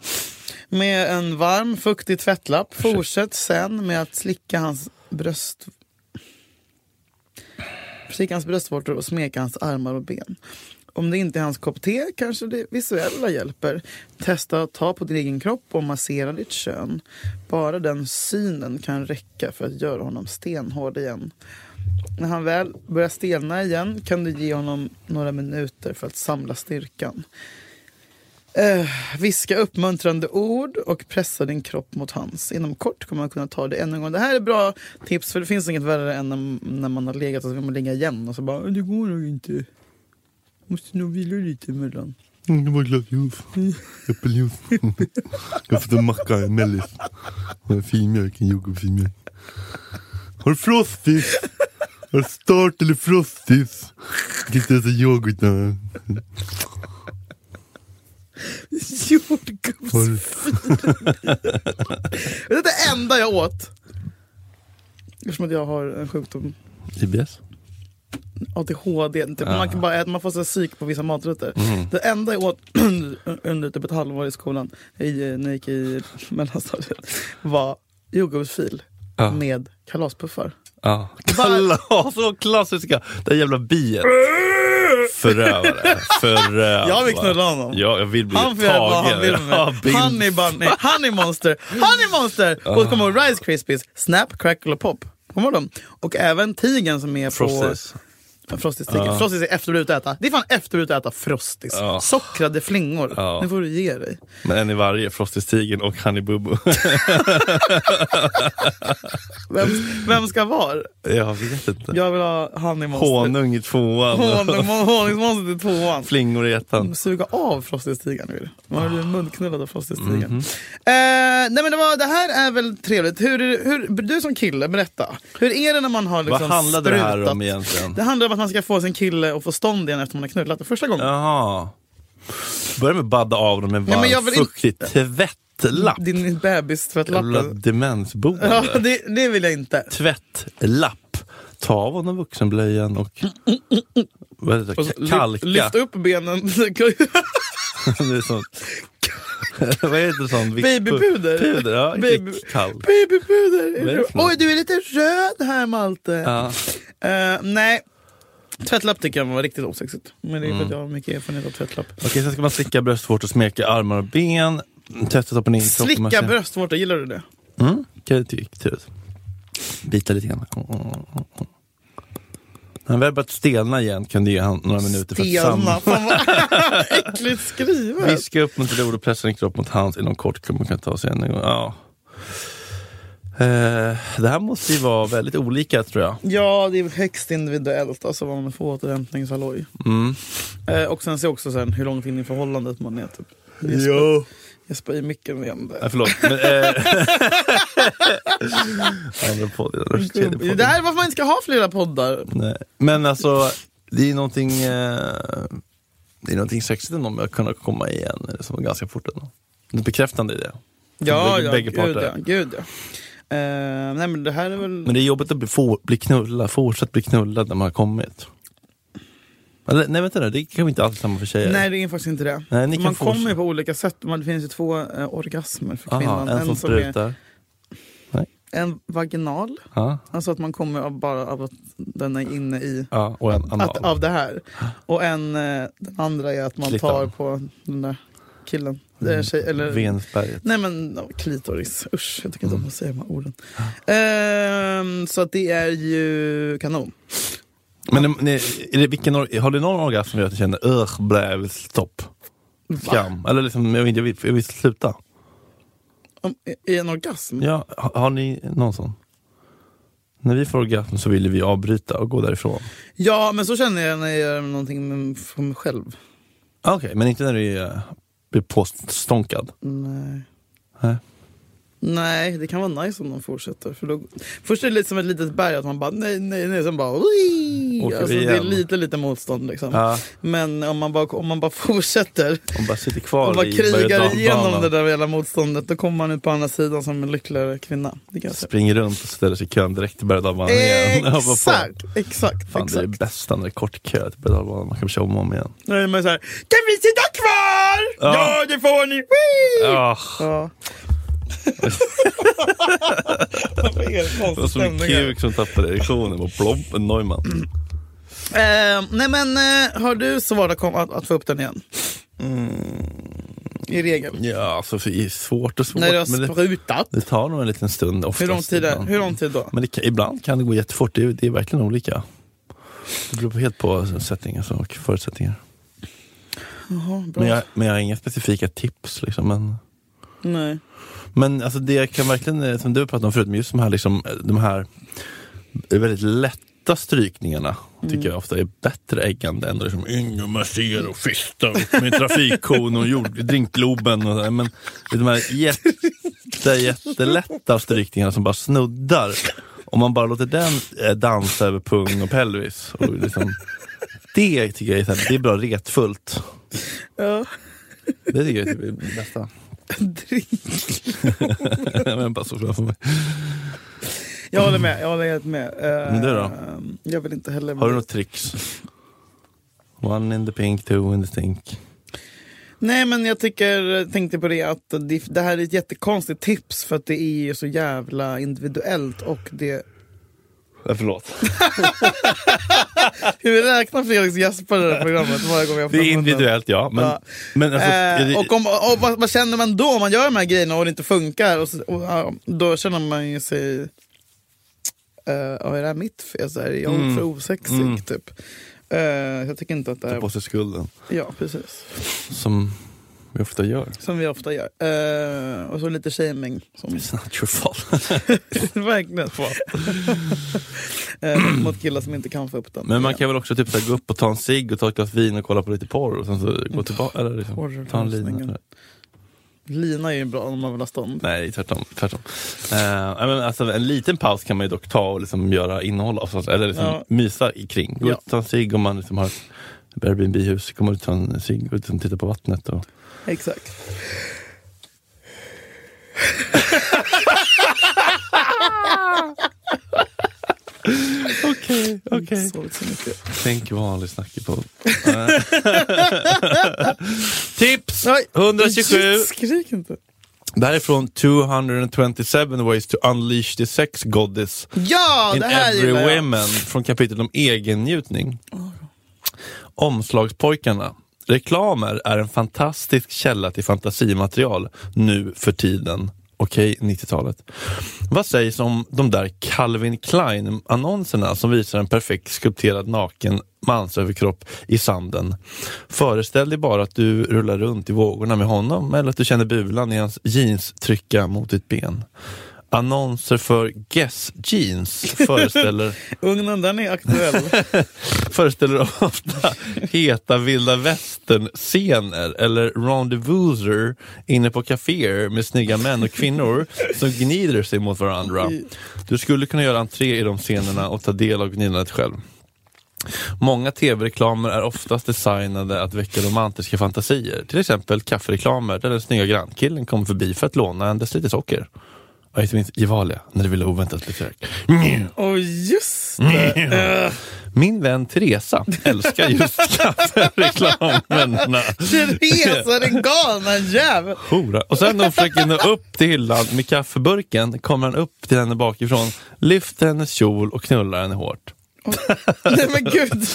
Speaker 3: med en varm fuktig tvättlapp. Fortsätt sen med att slicka hans bröst... Kik hans bröstvårtor och smeka hans armar och ben. Om det inte är hans kopp te kanske det visuella hjälper. Testa att ta på din egen kropp och massera ditt kön. Bara den synen kan räcka för att göra honom stenhård igen. När han väl börjar stelna igen kan du ge honom några minuter för att samla styrkan. Eh, viska uppmuntrande ord och pressa din kropp mot hans. Inom kort kommer man kunna ta det ännu en gång. Det här är bra tips för det finns inget värre än när- när man har legat och så vill man ligga igen och så bara det går nog inte. Måste nog vila lite emellan.
Speaker 4: Mm, det var glasljus. Äppeljuice. Jag fått en macka, en mellis. Och en filmjölk, en yoghurt filmjölk. Har du frostis? Har du start eller frostis? Jag kan inte äta yoghurt. nu. Har
Speaker 3: Jordgubbs...
Speaker 4: du
Speaker 3: Det är det enda jag åt. Eftersom att jag har en sjukdom,
Speaker 2: IBS?
Speaker 3: ADHD. Typ, man,
Speaker 2: Ah.
Speaker 3: kan bara äta, man får så här psyk på vissa maträtter.
Speaker 2: Mm.
Speaker 3: Det enda jag åt under typ ett halvår i skolan, i, eh, när jag gick i mellanstadiet, var jordgubbsfil
Speaker 2: Ja.
Speaker 3: med kalaspuffar.
Speaker 2: Ja. Kalas, så klassiska! Det här jävla biet. Förövare. Förövare.
Speaker 3: Jag vill knulla honom.
Speaker 2: Ja, jag vill bli
Speaker 3: Han får göra vad han vill
Speaker 2: tagen.
Speaker 3: med
Speaker 2: Ja,
Speaker 3: mig.
Speaker 2: bild.
Speaker 3: Honey bunny, honey monster, honey monster! Och kommer ihåg Rice Krispies, Snap, Crackle och Pop. Kommer du ihåg dem? Och även tigen som är på...
Speaker 2: Frosties. Ah.
Speaker 3: Frostis uh. Frostis är efterbrutet att äta. Det är fan efterbrutet att äta Frostis.
Speaker 2: Ja.
Speaker 3: Sockrade flingor.
Speaker 2: Ja.
Speaker 3: Nu får du ge dig.
Speaker 2: Men en i varje. Frosties-tigern och Honey Boo Boo.
Speaker 3: Vem, vem ska vara?
Speaker 2: Jag vet inte.
Speaker 3: Jag vill ha honey monster.
Speaker 2: Honung i tvåan.
Speaker 3: Honung- Honungsmonstret i tvåan.
Speaker 2: Flingor i ettan.
Speaker 3: Suga av Frostis-tigern nu. Man blir munknullad av Frostis-tigern.
Speaker 2: Mhm.
Speaker 3: Eh, nej men det, var, det här är väl trevligt. Hur, är det- hur, du som kille, berätta. Hur är det när man har liksom
Speaker 2: Vad handlade det här
Speaker 3: sprutat-
Speaker 2: om egentligen?
Speaker 3: Det handlar om att man ska få sin kille och få stånd igen efter man har knullat det första gången.
Speaker 2: Jaha. Börja med att badda av dem med
Speaker 3: Nej, men jag
Speaker 2: varm
Speaker 3: vill inte-
Speaker 2: fuktig tvättlapp.
Speaker 3: Din
Speaker 2: Jävla
Speaker 3: bebistvättlappen. Ja,
Speaker 2: demensboende.
Speaker 3: det, det vill jag inte.
Speaker 2: Tvättlapp. Ta av honom vuxenblöjan och, vad heter det,
Speaker 3: Och så
Speaker 2: Ka- kalka.
Speaker 3: Lyft upp benen.
Speaker 2: det är sånt. vad heter sånt? Vikt-
Speaker 3: Babypuder.
Speaker 2: Puder, ja.
Speaker 3: Baby-
Speaker 2: Kalk. Vad är
Speaker 3: Babypuder.
Speaker 2: det för något?
Speaker 3: Oj, du är lite röd här Malte.
Speaker 2: Ja.
Speaker 3: Eh, nej. Tvättlapp tycker jag var riktigt osexigt. Men det är
Speaker 2: Mm.
Speaker 3: för att jag har mycket erfarenhet av tvättlapp.
Speaker 2: Okej, sen ska man slicka bröstvårtor, smeka armar och ben. Testa toppen in. kroppen,
Speaker 3: Slicka
Speaker 2: massera-
Speaker 3: bröstvårtor, gillar du det?
Speaker 2: Mm, kan jag tycka. Tur. Bita lite grann. Mm, mm, mm, mm. När han väl börjat stelna igen kan du ge han några minuter för att
Speaker 3: Stelna.
Speaker 2: samla.
Speaker 3: Fan vad äckligt skrivet.
Speaker 2: Viska upp mot ord och pressa din kropp mot hans inom kort kommer man kunna ta sig en gång. Ja. Eh, det här måste ju vara väldigt olika tror jag.
Speaker 3: Ja, det är väl högst individuellt alltså vad man får återhämtningshalloj.
Speaker 2: Mm.
Speaker 3: Eh, och sen ser jag också sen hur långt in i förhållandet man är. Typ.
Speaker 4: Ja.
Speaker 3: Jag spöar i micken igen.
Speaker 2: Eh,
Speaker 3: Där.
Speaker 2: förlåt. Men, eh, andra podden, andra tredje
Speaker 3: Det
Speaker 2: podden.
Speaker 3: där är varför man inte ska ha flera poddar.
Speaker 2: Nej. Men alltså, det är ju någonting, eh, det är någonting sexigt ändå med att kunna komma igen eh, som var ganska fort ändå. Något bekräftande i det.
Speaker 3: Ja,
Speaker 2: Bägge-
Speaker 3: ja,
Speaker 2: bägge
Speaker 3: gud
Speaker 2: parter.
Speaker 3: ja. Gud, ja. Eh, nej men det här är väl...
Speaker 2: Men det är jobbigt att bli, få, bli knullad, fortsätt bli knullad när man har kommit. Eller, nej vänta nu, det kan vi inte alls samma för tjejer.
Speaker 3: Nej, det är faktiskt inte det.
Speaker 2: Nej, ni kan
Speaker 3: man
Speaker 2: få-
Speaker 3: kommer ju på olika sätt. Man, det finns ju två eh, orgasmer för
Speaker 2: Aha,
Speaker 3: kvinnan.
Speaker 2: en, som
Speaker 3: är
Speaker 2: sprutar.
Speaker 3: en vaginal,
Speaker 2: Ja,
Speaker 3: alltså att man kommer av bara av att den är inne i
Speaker 2: ja, och en anal.
Speaker 3: att, av det här. Och en, eh, den andra är att man
Speaker 2: Klittan.
Speaker 3: tar på den där killen. Mm. Tjej, eller,
Speaker 2: Venusberget.
Speaker 3: Nej men ja, klitoris, usch jag tycker inte
Speaker 2: Mm.
Speaker 3: om att säga de här orden.
Speaker 2: Ah.
Speaker 3: Ehm, så att det är ju kanon.
Speaker 2: Men eh, ni- ni, är det, vilken, or- har du någon orgasm som gör att du känner ugh, blä, jag vill stopp, skam? Eller liksom, jag vill, jag vill, jag vill sluta.
Speaker 3: Om, I en orgasm?
Speaker 2: Ja, har, har ni någon sån? När vi får orgasm så vill vi avbryta och gå därifrån.
Speaker 3: Ja men så känner jag när jag gör någonting med- för mig själv.
Speaker 2: Ah, Okej, men inte när du är, blir påstånkad?
Speaker 3: Mm, Nej.
Speaker 2: Nej.
Speaker 3: Nej, det kan vara nice om de fortsätter. För då, först är det lite som ett litet berg, att man bara nej, nej, nej, sen bara ui.
Speaker 2: Åker vi
Speaker 3: alltså, Det är
Speaker 2: igen.
Speaker 3: lite, lite motstånd liksom.
Speaker 2: Ja.
Speaker 3: Men om man bara, om man bara fortsätter
Speaker 2: Hon bara sitter kvar
Speaker 3: och bara
Speaker 2: i berg- och
Speaker 3: krigar igenom
Speaker 2: dalbanan.
Speaker 3: det där hela motståndet, då kommer man ut på andra sidan som en lyckligare kvinna. Det kan jag säga.
Speaker 2: Springer runt och ställer sig i kön direkt till berg och dalbanan igen. Jag bara, fan,
Speaker 3: Exakt,
Speaker 2: Fan,
Speaker 3: exakt,
Speaker 2: det är
Speaker 3: exakt.
Speaker 2: det bästa när det är kort kö till berg och dalbanan. Man kan köra om och om igen.
Speaker 3: Då är man så här, kan vi sitta kvar?
Speaker 2: Ja.
Speaker 3: Ja, det får ni! Wee!
Speaker 2: Ah,
Speaker 3: Ja. Vad är det för
Speaker 2: det var
Speaker 3: konstig
Speaker 2: som en
Speaker 3: stämning här? Mm.
Speaker 2: kuk som tappade erektionen och plopp, en Neumann.
Speaker 3: Eh, nej men eh, har du svårt att, kom- att, att få upp den igen?
Speaker 2: Mm.
Speaker 3: I regel.
Speaker 2: Ja, alltså för- det är svårt och svårt.
Speaker 3: När du har
Speaker 2: men det,
Speaker 3: sprutat.
Speaker 2: det tar nog en liten stund oftast.
Speaker 3: Hur lång tid, är,
Speaker 2: ibland.
Speaker 3: hur lång tid då?
Speaker 2: Men det kan, ibland kan det gå jättefort. Det är, det är verkligen olika. Det beror på helt på setting alltså, och förutsättningar.
Speaker 3: Jaha, bra.
Speaker 2: Men jag, men jag har inga specifika tips. Liksom, men...
Speaker 3: Nej.
Speaker 2: Men alltså det jag kan verkligen, eh, som du pratade om förut, men just de här, liksom, eh, de här väldigt lätta strykningarna tycker jag ofta är bättre äggande än liksom Ingemar ser och fistar upp med trafikkon och jord, drinkgloben. Och, sådär. men de här jätte, jättelätta strykningarna som bara snuddar. Om man bara låter den eh, dansa över pung och pelvis. Och liksom, det tycker jag är, så här, det är bra retfullt.
Speaker 3: Ja.
Speaker 2: Det tycker jag är typ det bästa.
Speaker 3: Drink.
Speaker 2: Men bara så framför mig.
Speaker 3: Jag håller med. Jag håller helt med. Eh,
Speaker 2: Men du då?
Speaker 3: Jag vill inte heller...
Speaker 2: Har du något tricks? One in the pink, two in the stink.
Speaker 3: Nej men jag tycker, tänkte på det att det, det här är ett jättekonstigt tips för att det är ju så jävla individuellt och det...
Speaker 2: Ja, förlåt.
Speaker 3: Hur vi räknar Felix gäspar i det här programmet varje gång jag
Speaker 2: Det är individuellt ja, men,
Speaker 3: Ja.
Speaker 2: men alltså, är det-
Speaker 3: Eh, och om, och vad, vad känner man då om man gör de här grejerna och det inte funkar? Och, så- och, ja, då känner man ju sig... eh, ja, är det här mitt fel? Så här, är jag
Speaker 2: Mm.
Speaker 3: för osexig? Typ. Eh, jag tycker inte att det
Speaker 2: ta på
Speaker 3: är...
Speaker 2: sig skulden.
Speaker 3: Ja, precis.
Speaker 2: Som vi ofta gör.
Speaker 3: Som vi ofta gör. Eh, och så lite shaming. Som,
Speaker 2: It's not your fault.
Speaker 3: verkligen. Eh, mot killar som inte kan få upp den.
Speaker 2: Men man kan väl också typ, så här, gå upp och ta en cigg och ta ett glas vin och kolla på lite porr och sen så gå tillbaka. Eller, liksom, ta en lina.
Speaker 3: Porrlösningen. Lina är ju bra om man vill ha stånd.
Speaker 2: Nej, tvärtom. tvärtom. Eh, nej, men alltså, en liten paus kan man ju dock ta och liksom göra innehåll av. sånt, Eller liksom
Speaker 3: Ja.
Speaker 2: mysa i kring. Gå
Speaker 3: Ja.
Speaker 2: ut och ta en cigg om man liksom har ett Airbnb-hus. Kommer ut och ta en cigg och liksom titta på vattnet. Och...
Speaker 3: Exakt.
Speaker 2: Okej, okej.
Speaker 3: Sovit så mycket.
Speaker 2: Tänk vanlig snackepod. Eh. Tips
Speaker 3: Nej,
Speaker 2: 127.
Speaker 3: Skrik inte.
Speaker 2: Det här är från 227 ways to unleash the sex goddess
Speaker 3: Ja,
Speaker 2: in
Speaker 3: det här
Speaker 2: every
Speaker 3: gillar jag.
Speaker 2: women från kapitlet om egennjutning. Omslagspojkarna. Reklamer är en fantastisk källa till fantasimaterial nu för tiden. Okej, 90-talet. Vad sägs om de där Calvin Klein-annonserna som visar en perfekt skulpterad naken mansöverkropp i sanden? Föreställ dig bara att du rullar runt i vågorna med honom eller att du känner bulan i hans jeans trycka mot ditt ben. Annonser för Guess Jeans föreställer
Speaker 3: Ugnen, den är aktuell.
Speaker 2: föreställer ofta heta vilda västern-scener eller rendezvouser inne på kaféer med snygga män och kvinnor som gnider sig mot varandra. Du skulle kunna göra entré i de scenerna och ta del av gnidandet själv. Många tv-reklamer är oftast designade att väcka romantiska fantasier. Till exempel kaffereklamer där den snygga grannkillen kommer förbi för att låna en deciliter socker. Och inte minst Gevalia, när du ville oväntat besök. Mjau.
Speaker 3: Och just det.
Speaker 2: Min vän Teresa älskar just kaffereklamerna.
Speaker 3: Mm. Therese, den galna jäveln.
Speaker 2: Hora. Och sen när hon försöker nå upp till hyllan med kaffeburken kommer han upp till henne bakifrån, lyfter hennes kjol och knullar henne hårt.
Speaker 3: Nej men gud.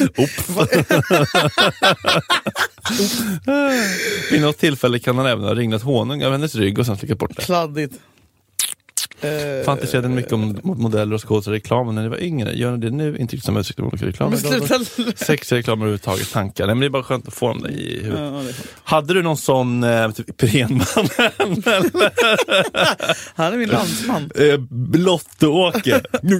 Speaker 2: Vid något tillfälle kan han även ha ringat honung av hennes rygg och sen slickat bort det.
Speaker 3: Kladdigt. Eh,
Speaker 2: Fantiserade mycket om modeller och skådisar i reklamen när ni var yngre. Gör ni det nu? Inte riktigt samma utsträckning om olika
Speaker 3: men
Speaker 2: reklamer.
Speaker 3: sluta.
Speaker 2: Sexreklam överhuvudtaget, tankar. Nej, men det är bara skönt att få dem där i huvudet.
Speaker 3: Ja, det är sant.
Speaker 2: Hade du någon sån eh, typ, Iperenman?
Speaker 3: Han är min landsman.
Speaker 2: Eh, Lotto-Åke.
Speaker 3: Jag gillar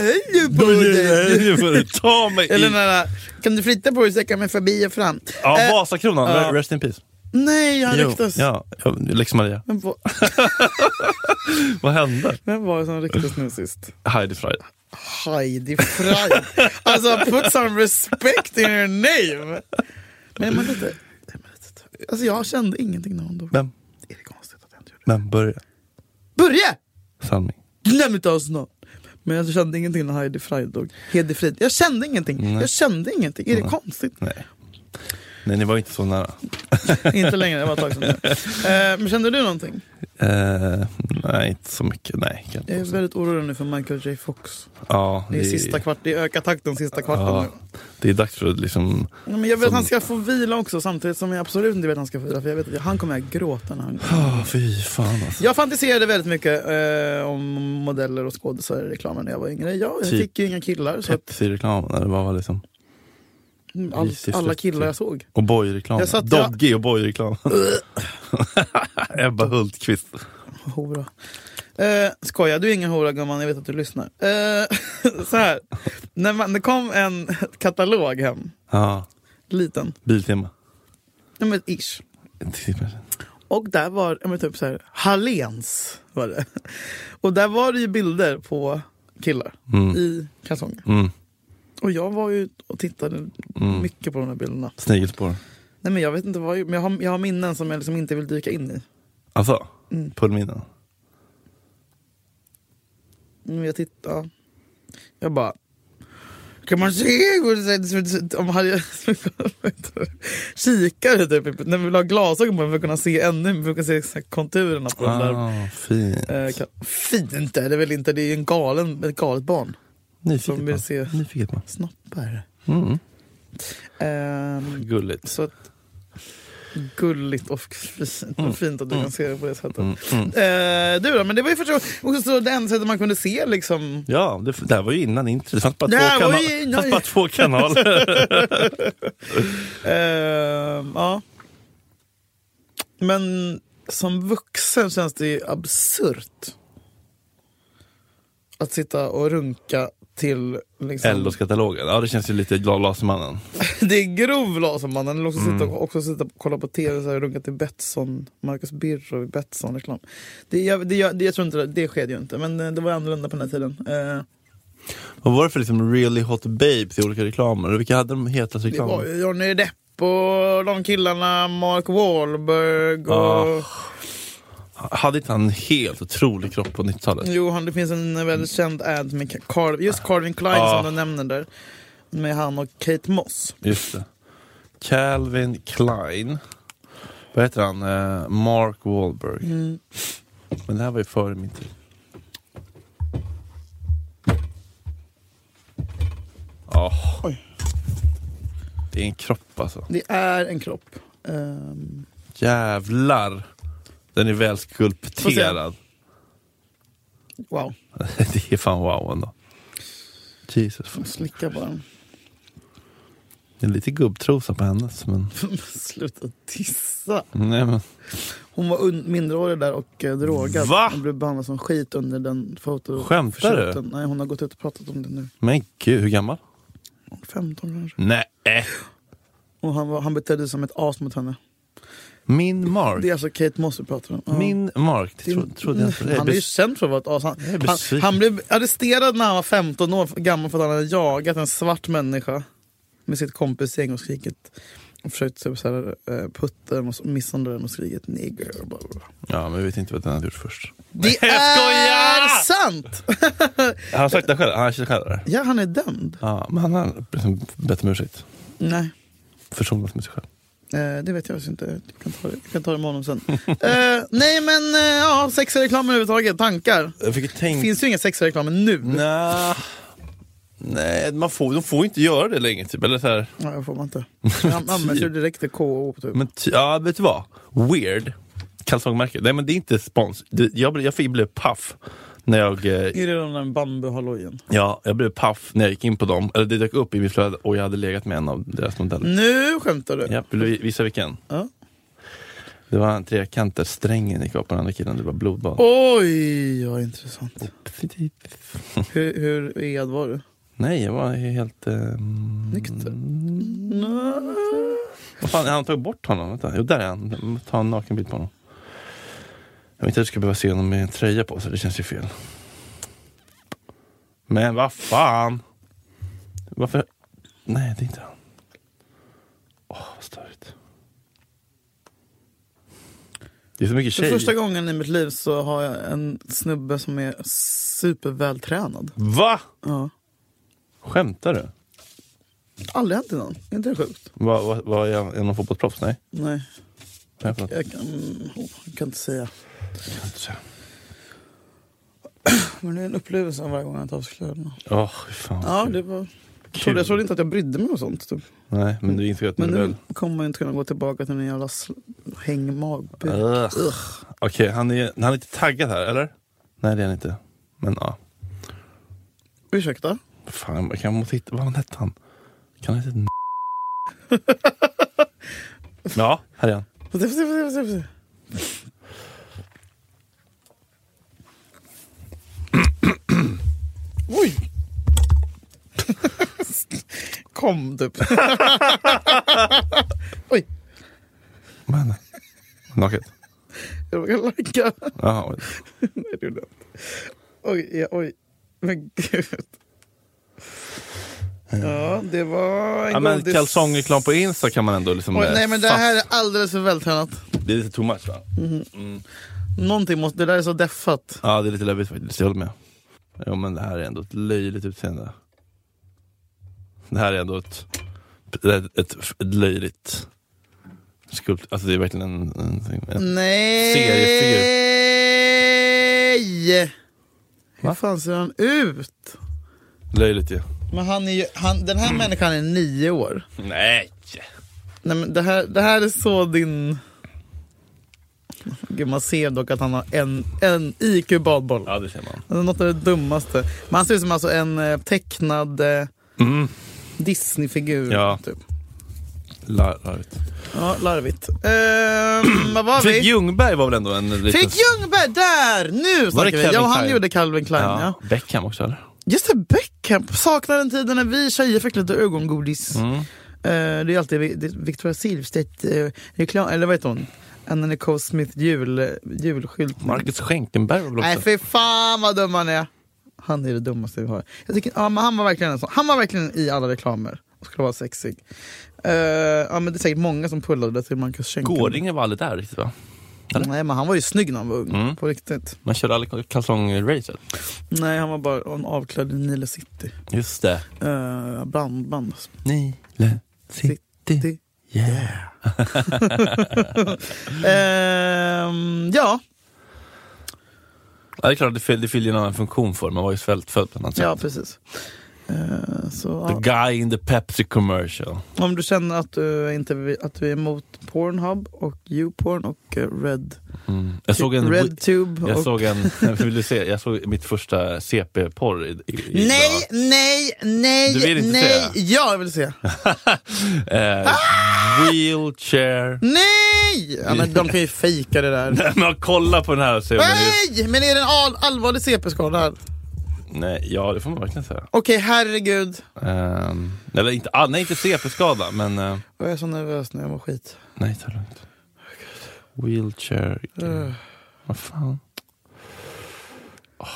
Speaker 3: höj på dig.
Speaker 2: Nu får du ta mig
Speaker 3: Eller den
Speaker 2: i...
Speaker 3: där, kan du flytta på dig så jag kan mig förbi och fram?
Speaker 2: Ja,
Speaker 3: Eh,
Speaker 2: Vasakronan.
Speaker 3: ja.
Speaker 2: Rest in peace.
Speaker 3: Nej, han
Speaker 2: Jo,
Speaker 3: ryktas.
Speaker 2: ja, ja, Lex Maria.
Speaker 3: Vem, var,
Speaker 2: Vad hände?
Speaker 3: vem var det som ryktas nu sist?
Speaker 2: Heidi Frey.
Speaker 3: Heidi Frey. Alltså put some respect in your name. Men man lite, nej, men lite. Alltså jag kände ingenting när hon dog.
Speaker 2: Vem?
Speaker 3: Är det konstigt att jag inte gjorde
Speaker 2: Vem börjar?
Speaker 3: det? Börje!
Speaker 2: Sanning.
Speaker 3: Glöm inte oss nu. Men jag kände ingenting när Heidi Frey dog. Hedi Frid. Jag kände ingenting. Jag kände ingenting. Är det konstigt?
Speaker 2: Nej. Nej, ni var ju inte så nära.
Speaker 3: inte längre, det var ett tag sedan nu. Eh, men kände du någonting?
Speaker 2: Eh, nej, inte så mycket. Nej, kan
Speaker 3: Jag är
Speaker 2: inte.
Speaker 3: väldigt orolig nu för Michael J Fox.
Speaker 2: Ja,
Speaker 3: Det är sista kvart, det är ökar takten sista kvarten
Speaker 2: Ja.
Speaker 3: nu.
Speaker 2: det är dags för att liksom...
Speaker 3: Ja, Men jag vill att
Speaker 2: Som-
Speaker 3: han ska få vila också samtidigt som jag absolut inte vet att han ska få vila. För jag vet att han kommer att gråta när han
Speaker 2: Oh, fy fan alltså.
Speaker 3: Jag fantiserade väldigt mycket eh, om modeller och skådisar i reklamen när jag var yngre. Jag, jag
Speaker 2: Typ.
Speaker 3: fick ju inga killar. Så att
Speaker 2: Pepsi-reklamen, eller vad var det liksom?
Speaker 3: all,
Speaker 2: Jesus,
Speaker 3: alla
Speaker 2: typ.
Speaker 3: killar jag såg.
Speaker 2: Och Boy-reklamen.
Speaker 3: Jag satt- jag-
Speaker 2: Doggy och Boy-reklamen. Ebba Hultqvist.
Speaker 3: Hora. Eh, skoja, du är ingen hora gumman, jag vet att du lyssnar. Eh, så här. När man, det kom en katalog hem,
Speaker 2: Ja,
Speaker 3: liten,
Speaker 2: Biltema.
Speaker 3: ja, men ish. Och där var ja, men typ så här, Halléns var det. Och där var det ju bilder på killar
Speaker 2: Mm.
Speaker 3: i kalsonger.
Speaker 2: Mm.
Speaker 3: Och jag var ju och tittade
Speaker 2: Mm.
Speaker 3: mycket på de här bilderna.
Speaker 2: Snigelspår.
Speaker 3: Nej men jag vet inte vad jag, men jag, har, jag har minnen som jag liksom inte vill dyka in i.
Speaker 2: Alltså,
Speaker 3: Mm.
Speaker 2: Pullminnen.
Speaker 3: Men jag tittar. Jag bara... Kan man se om Harry kikare typ, när vi vill ha glasögon på för att kunna se ännu, för att kunna se exakt konturerna på den där.
Speaker 2: Ah, fint.
Speaker 3: Eh, ka- Fint är det väl inte, det är ju en galen, ett galet barn.
Speaker 2: Nyfiket
Speaker 3: som
Speaker 2: man.
Speaker 3: vill se-
Speaker 2: Nyfiket man.
Speaker 3: Snoppar.
Speaker 2: Mm.
Speaker 3: Ehm,
Speaker 2: Gulligt.
Speaker 3: så att, gulligt och fint, och fint att du kan se det på det sättet.
Speaker 2: Mm. Mm.
Speaker 3: Eh, du då, men det var ju första också så det enda sättet man kunde se liksom.
Speaker 2: Ja, det, det här var ju innan internet. Det fanns bara,
Speaker 3: Det här
Speaker 2: två,
Speaker 3: var
Speaker 2: kana-
Speaker 3: ju innan-
Speaker 2: fanns bara två kanaler.
Speaker 3: Eh, ja. Men som vuxen känns det ju absurt. Att sitta och runka till liksom,
Speaker 2: LOs-katalogen. Ja, det känns ju lite La- Lasermannen.
Speaker 3: Det är grov lasermannen. Eller också
Speaker 2: Mm.
Speaker 3: sitta, också sitta och kolla på tv så här, och runka till Betsson, Marcus Birro i Betsson-reklam. Det, jag, det, jag, det, jag tror inte det, det skedde ju inte, men eh, det var annorlunda på den här tiden. Eh,
Speaker 2: Vad var det för liksom really hot babes i olika reklamer? Vilka hade de hetaste
Speaker 3: Det var
Speaker 2: reklamerna?
Speaker 3: ju Johnny Depp och de killarna, Mark Wahlberg och...
Speaker 2: Ah. Hade inte han en helt otrolig kropp på 90-talet?
Speaker 3: Jo, han, det finns en väldigt känd ad med Carl, just Calvin Klein
Speaker 2: Ah.
Speaker 3: som du nämner där. Med han och Kate Moss.
Speaker 2: Just det. Calvin Klein. Vad heter han? Eh, Mark Wahlberg. Men det här var ju före min tid. Ja.
Speaker 3: Oj.
Speaker 2: Ah. Det är en kropp alltså.
Speaker 3: Det är en kropp. Ehm,
Speaker 2: Jävlar! Den är väl skulpterad.
Speaker 3: wow,
Speaker 2: det är fan wow ändå. Jesus. fuck.
Speaker 3: slicka på den.
Speaker 2: Det är lite gubbtrosa på hennes men...
Speaker 3: Sluta tissa.
Speaker 2: Nej men...
Speaker 3: Hon var un- minderårig där och eh, drogad.
Speaker 2: Va?
Speaker 3: Hon blev behandlad som skit under den foto...
Speaker 2: Skämtar du?
Speaker 3: försökten. Nej, hon har gått ut och pratat om det nu.
Speaker 2: Men gud, hur gammal?
Speaker 3: 15 kanske.
Speaker 2: Nej.
Speaker 3: Och han, var, han betedde sig som ett as mot henne.
Speaker 2: Min Mark.
Speaker 3: Det är alltså Kate Moss vi pratar om. Ja.
Speaker 2: Min Mark. Det tro,
Speaker 3: Din- Mm.
Speaker 2: trodde jag inte.
Speaker 3: Han är ju känd för att vara ett as. Han,
Speaker 2: Jag är
Speaker 3: han,
Speaker 2: besviken.
Speaker 3: han blev arresterad när han var 15 år gammal för att han hade jagat en svart människa med sitt kompisgäng och skrikit och försökt typ, så här, eh, putta den och så- misshandla den och skrikit nigger. och bla, bla, bla.
Speaker 2: Ja, men vi vet inte vad den hade gjort först.
Speaker 3: Det
Speaker 2: jag skojar!
Speaker 3: är sant!
Speaker 2: Han har sagt det själv. Han har sagt det själv.
Speaker 3: Ja, han är dömd.
Speaker 2: Ja, men han har liksom bett om ursäkt.
Speaker 3: Nej.
Speaker 2: Försonat med sig själv.
Speaker 3: Eh, det vet jag faktiskt inte. Jag kan ta det, jag kan ta det med honom sen. Eh, nej men eh, ja, sex i reklamen överhuvudtaget, tankar.
Speaker 2: Jag fick ju
Speaker 3: Det
Speaker 2: tänka...
Speaker 3: finns ju inga sex i reklamen nu.
Speaker 2: Nja. Nej, man får, de får ju inte göra det längre typ. Eller så här.
Speaker 3: Nej, det får man inte. Han använder ju direkt till KO. Typ.
Speaker 2: Men ty, ja, vet du vad? Weird. Kalsongmärke. Nej men det är inte spons. Det, jag, blev- jag fick blev paff när jag... Eh,
Speaker 3: Är det den där bambuhallojen?
Speaker 2: Ja, jag blev paff när jag gick in på dem. Eller det dök upp i mitt flöde och jag hade legat med en av deras modeller.
Speaker 3: Nu skämtar du?
Speaker 2: Mm. Ja, vill du vi- visa vilken?
Speaker 3: Ja.
Speaker 2: Det var en trekant där strängen gick av på den andra killen. Det var blodbad.
Speaker 3: Oj, vad intressant. Hur, hur ead var
Speaker 2: Mm,
Speaker 3: du?
Speaker 2: Nej, jag var helt... Eh,
Speaker 3: Nykter?
Speaker 2: vad fan, han tog bort honom. Vänta. Jo, där är han. Jag måste Ta en nakenbild på honom. Jag vet inte att jag skulle behöva se honom med en tröja på sig. Det känns ju fel. Men vad fan! Varför? Nej, det är inte han. Åh, vad störigt. Det är så mycket
Speaker 3: För
Speaker 2: tjejer.
Speaker 3: första gången i mitt liv så har jag en snubbe som är supervältränad.
Speaker 2: Va?
Speaker 3: Ja.
Speaker 2: Skämtar du?
Speaker 3: Aldrig hänt innan. Är inte det sjukt?
Speaker 2: Vad va, va, är jag är jag någon fotbollsproffs? Nej.
Speaker 3: Nej.
Speaker 2: Vad är det för något?
Speaker 3: Jag kan, oh, jag kan inte säga.
Speaker 2: Jag kan inte säga.
Speaker 3: Men det är en upplevelse varje gång jag tar av sig kläderna.
Speaker 2: Åh, fy fan.
Speaker 3: Ja, det var... Jag
Speaker 2: Kul.
Speaker 3: trodde, jag trodde inte att jag brydde mig om sånt. Typ.
Speaker 2: Nej, men du insåg att
Speaker 3: Men
Speaker 2: när du
Speaker 3: nu
Speaker 2: väl...
Speaker 3: kommer man ju inte kunna gå tillbaka till min jävla sl- hängmag.
Speaker 2: Ugh. Ah, Okej, han, är, han är inte taggad här, eller? Nej, det är han inte. Men ja.
Speaker 3: Ursäkta?
Speaker 2: Fan, jag kan måste hitta... Vad hette han? Kan han heta... ja, här är han.
Speaker 3: Får se, får se, får se, får se, får se. Oj! Kom typ. Oj,
Speaker 2: Vad hände? Naket?
Speaker 3: jag råkade lagga.
Speaker 2: Jaha, oj.
Speaker 3: Nej, det gjorde jag inte. Oj, ja, oj. Men gud. Ja, det var en
Speaker 2: Ja, men
Speaker 3: godis.
Speaker 2: kalsongreklam på Insta kan man ändå liksom...
Speaker 3: Oj,
Speaker 2: eh,
Speaker 3: nej, men det
Speaker 2: fast-
Speaker 3: här är alldeles för vältränat.
Speaker 2: Det är lite too much, va?
Speaker 3: Någonting måste... Det där är så deffat.
Speaker 2: Ja, det är lite läbbigt faktiskt. Jag håller med. Jo, men det här är ändå ett löjligt utseende. Det här är ändå ett, ett, ett, ett löjligt skulpt... Alltså det är verkligen en... en, en
Speaker 3: Nej!
Speaker 2: Seriefigur.
Speaker 3: Hur
Speaker 2: Va?
Speaker 3: fan ser han ut?
Speaker 2: löjligt ju.
Speaker 3: Men han är ju, han, den här människan är nio år.
Speaker 2: Nej!
Speaker 3: Nej, men det, här, det här är så din... Gud, man ser dock att han har en, en IQ badboll.
Speaker 2: Ja, det ser man.
Speaker 3: Alltså, något av det dummaste. Men han ser ut som alltså en eh, tecknad eh,
Speaker 2: Mm.
Speaker 3: Disney-figur.
Speaker 2: Ja.
Speaker 3: Typ.
Speaker 2: Lar- Larvigt.
Speaker 3: ja, larvigt. Ehm, vad var
Speaker 2: Fredrik
Speaker 3: vi?
Speaker 2: Ljungberg var väl ändå en liten...
Speaker 3: Fick Ljungberg! Där! Nu snackar vi!
Speaker 2: Calvin
Speaker 3: Ja, han
Speaker 2: Klein?
Speaker 3: gjorde Calvin Klein. Ja.
Speaker 2: Ja. Beckham också eller?
Speaker 3: Just det, Beckham. Saknar den tiden när vi tjejer fick lite ögongodis.
Speaker 2: Mm.
Speaker 3: Eh, det är alltid Vi- det är Victoria Silvstedt eh, reklam, eller vad heter hon? Anna Nicole Smith jul, julskylt.
Speaker 2: Marcus Schenkenberg var väl
Speaker 3: Nej
Speaker 2: också?
Speaker 3: fy fan vad dum han är. Han är det dummaste vi har. Jag tycker, ja, men han var verkligen en sån. Han var verkligen i alla reklamer och skulle vara sexig. Eh, ja, men det är säkert många som pullade till Marcus Schenkenberg.
Speaker 2: Gårdingen var aldrig där riktigt va? eller?
Speaker 3: Nej men han var ju snygg när han var ung.
Speaker 2: Mm.
Speaker 3: På riktigt.
Speaker 2: Man körde aldrig kalsongracet.
Speaker 3: Nej han var bara en avklädd i Nile City.
Speaker 2: Just det.
Speaker 3: Uh, brandband.
Speaker 2: Nile City.
Speaker 3: City.
Speaker 2: Yeah.
Speaker 3: Ehm, ja,
Speaker 2: Ja, det är klart, det fyller, det fyller en annan funktion för Man var ju svältfödd på något sätt.
Speaker 3: ja precis. Eh, så, ja.
Speaker 2: The guy in the Pepsi commercial.
Speaker 3: Om du känner att du, inte, vill- att du är emot Pornhub och Youporn och eh, Red,
Speaker 2: Mm. Jag såg en...
Speaker 3: RedTube
Speaker 2: Jag
Speaker 3: och...
Speaker 2: såg en, vill du se, jag såg mitt första CP-porr i, i, i-
Speaker 3: Nej, nej, nej,
Speaker 2: Du vill inte
Speaker 3: nej!
Speaker 2: se?
Speaker 3: Ja, jag vill se.
Speaker 2: Eh,
Speaker 3: Ah!
Speaker 2: wheelchair.
Speaker 3: Nej! Ja, men de kan ju fejka det där.
Speaker 2: Nej, men kolla på den här och se om den är...
Speaker 3: Nej! Men är det en all, allvarlig CP-skada här?
Speaker 2: Nej, ja det får man verkligen säga.
Speaker 3: Okej, herregud.
Speaker 2: Ehm, eller inte, ah, nej inte CP-skada, men... eh,
Speaker 3: Jag är så nervös nu, jag mår skit.
Speaker 2: nej, ta det lugnt. Wheelchair.
Speaker 3: Eh,
Speaker 2: Vad fan? Oh,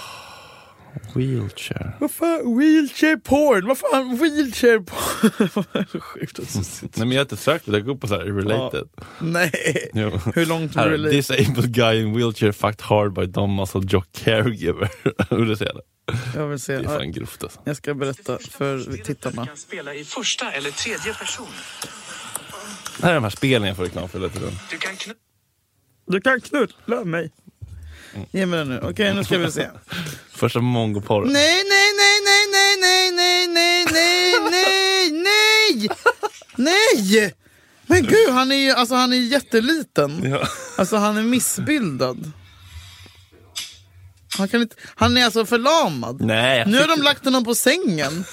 Speaker 2: wheelchair.
Speaker 3: Vad fan, wheelchair porn? Vad fan, wheelchair porn? Vad sjukt att du sitter-
Speaker 2: Nej men jag har inte sökt det, jag går på så här related.
Speaker 3: Nej.
Speaker 2: Jo.
Speaker 3: Hur långt
Speaker 2: Här,
Speaker 3: var det?
Speaker 2: disabled guy in wheelchair fucked hard by dumb muscle jock caregiver. Vill du se det?
Speaker 3: Jag vill se.
Speaker 2: Det är
Speaker 3: Ja,
Speaker 2: fan grovt alltså.
Speaker 3: Jag ska berätta för tittarna.
Speaker 5: kan spela i första eller tredje person.
Speaker 2: Det här är de här spelen jag får reklam för hela tiden.
Speaker 5: Du kan kn-
Speaker 3: Du kan knulla mig. Ge mig den nu. Okej, nu ska vi se.
Speaker 2: Första mongoporren.
Speaker 3: Nej, nej, nej, nej, nej, nej, nej, nej, nej, nej, nej, nej! Men gud, han är ju alltså, han är jätteliten.
Speaker 2: Ja.
Speaker 3: Alltså, han är missbildad. Han, kan inte, han är alltså förlamad.
Speaker 2: Nej, jag
Speaker 3: Nu har
Speaker 2: tycker-
Speaker 3: de lagt honom på sängen.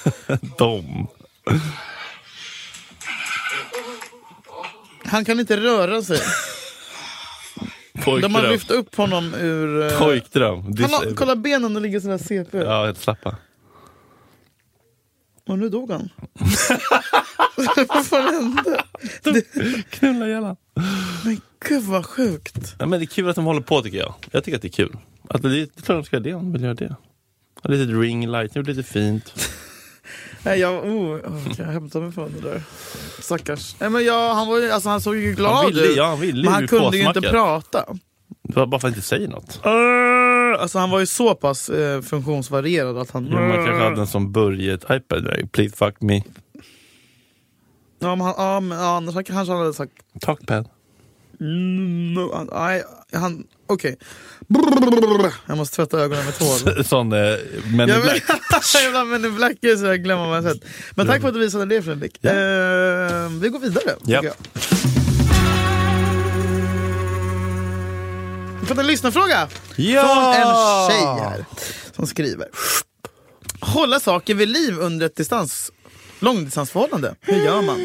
Speaker 2: Dom.
Speaker 3: Han kan inte röra sig. De har
Speaker 2: Pojkdröm.
Speaker 3: lyft upp honom ur... eh,
Speaker 2: Pojkdröm.
Speaker 3: Han har,
Speaker 2: Disabled.
Speaker 3: kolla benen, det ligger sådär CP.
Speaker 2: Ja, helt slappa.
Speaker 3: Och nu dog han. vad fan hände?
Speaker 2: Knulla ihjäl han.
Speaker 3: Men gud vad sjukt.
Speaker 2: ja, men Det är kul att de håller på tycker jag. Jag tycker att det är kul. Att det, det är klart de ska göra det om de vill göra det. Ha Lite ring light, gjort lite fint.
Speaker 3: Nej, jag, oh, oh, kan
Speaker 2: Mm.
Speaker 3: jag hämta mig från det där? Stackars. Nej, men jag, han, var, ju- alltså, han såg ju glad
Speaker 2: Han ville,
Speaker 3: ut.
Speaker 2: ja, han ville
Speaker 3: men han
Speaker 2: ju
Speaker 3: kunde ju inte
Speaker 2: påsmacka.
Speaker 3: prata.
Speaker 2: Det var bara för att inte säga något.
Speaker 3: Arr! Alltså, han var ju så pass eh, funktionsvarierad att han...
Speaker 2: Jo, man kanske hade en som Börje-typad. Please fuck me.
Speaker 3: Ja, men, han, ja, men ja, annars kanske han hade sagt
Speaker 2: Talkpad.
Speaker 3: Mm, no, han- Nej, han... Okej. Brrrr. Jag måste tvätta ögonen med tvål.
Speaker 2: Sån eh, Men in
Speaker 3: Jag
Speaker 2: Black.
Speaker 3: vill- Jävla Men in Black är så jag glömmer vad jag sett. Men tack för att du visade det Fredrik.
Speaker 2: Ja.
Speaker 3: Eh, vi går vidare. tycker
Speaker 2: Ja.
Speaker 3: jag. Vi får en lyssnarfråga från en tjej här som skriver. Hålla saker vid liv under ett distans, långdistansförhållande. Hur gör man?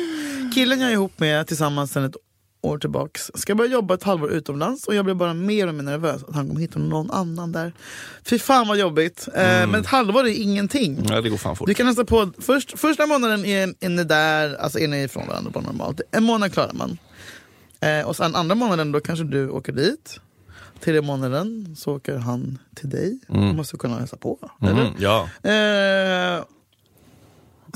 Speaker 3: Killen jag är ihop med tillsammans sedan ett år tillbaks ska börja jobba ett halvår utomlands och jag blir bara mer och mer nervös att han kommer hitta någon annan där. Fy fan vad jobbigt. Eh, Men ett halvår är ingenting.
Speaker 2: Mm. Ja, det går fan fort.
Speaker 3: Du kan nästan på, först, första månaden är, är ni där, alltså är ni ifrån varandra bara normalt. En månad klarar man. Eh, och sen andra månaden då kanske du åker dit. Tredje månaden så åker han till dig. Man måste kunna hälsa på. Eller?
Speaker 2: Mm, ja.
Speaker 3: Eh,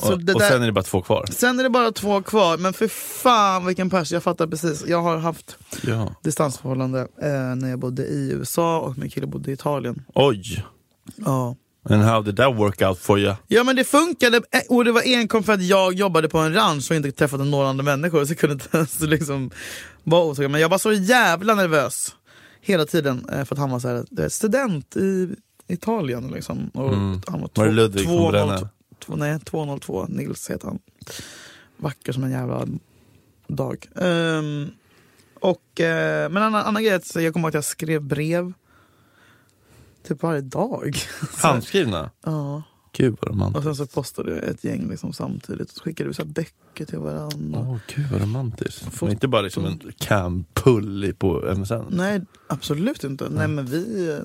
Speaker 3: så
Speaker 2: Och,
Speaker 3: det
Speaker 2: och
Speaker 3: där,
Speaker 2: sen är det bara två kvar.
Speaker 3: sen är det bara två kvar, men för fan vilken pers. Jag fattar precis. Jag har haft
Speaker 2: Ja.
Speaker 3: distansförhållande eh, när jag bodde i USA och min kille bodde i Italien.
Speaker 2: Oj!
Speaker 3: Ja.
Speaker 2: And how did that work out for you?
Speaker 3: Ja men det funkade Eh, och det var enkom för att jag jobbade på en ranch och inte träffat några andra människor så jag kunde inte ens liksom vara osäker. Men jag var så jävla nervös hela tiden eh, för att han var så här, du vet, student i Italien. Liksom. Och han var, två,
Speaker 2: Mm. Var det Ludvig från
Speaker 3: 202
Speaker 2: Bränna?
Speaker 3: två, Nej, 202. Nils heter han. Vacker som en jävla dag. Ehm, och, eh, men en annan, annan grej är att jag kommer ihåg att jag skrev brev typ varje dag.
Speaker 2: Handskrivna?
Speaker 3: Ja.
Speaker 2: Gud vad romantiskt.
Speaker 3: Och sen så postade jag ett gäng liksom samtidigt. Så skickade vi så här böcker till varandra.
Speaker 2: Åh, gud vad romantiskt. Men inte bara liksom en campull i- på MSN.
Speaker 3: Nej, absolut inte. Nej, men vi,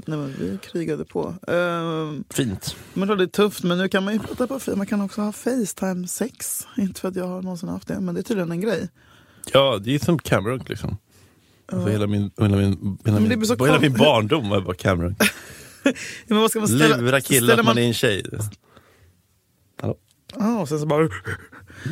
Speaker 3: nej, men vi krigade på. Ehm,
Speaker 2: Fint.
Speaker 3: men då är det är tufft, men nu kan man ju prata på fi- Man kan också ha Facetime sex. Inte för att jag har någonsin haft det, men det är tydligen en grej.
Speaker 2: Ja, det är som Cameron liksom. Alltså hela min, hela min, hela
Speaker 3: Men det
Speaker 2: min,
Speaker 3: blir så
Speaker 2: hela min
Speaker 3: kon-
Speaker 2: barndom var bara Cameron.
Speaker 3: Ja, men vad ska man ställa,
Speaker 2: Lura killen
Speaker 3: ställer
Speaker 2: att man
Speaker 3: man,
Speaker 2: är en tjej. Hallå?
Speaker 3: Ja, och sen så bara...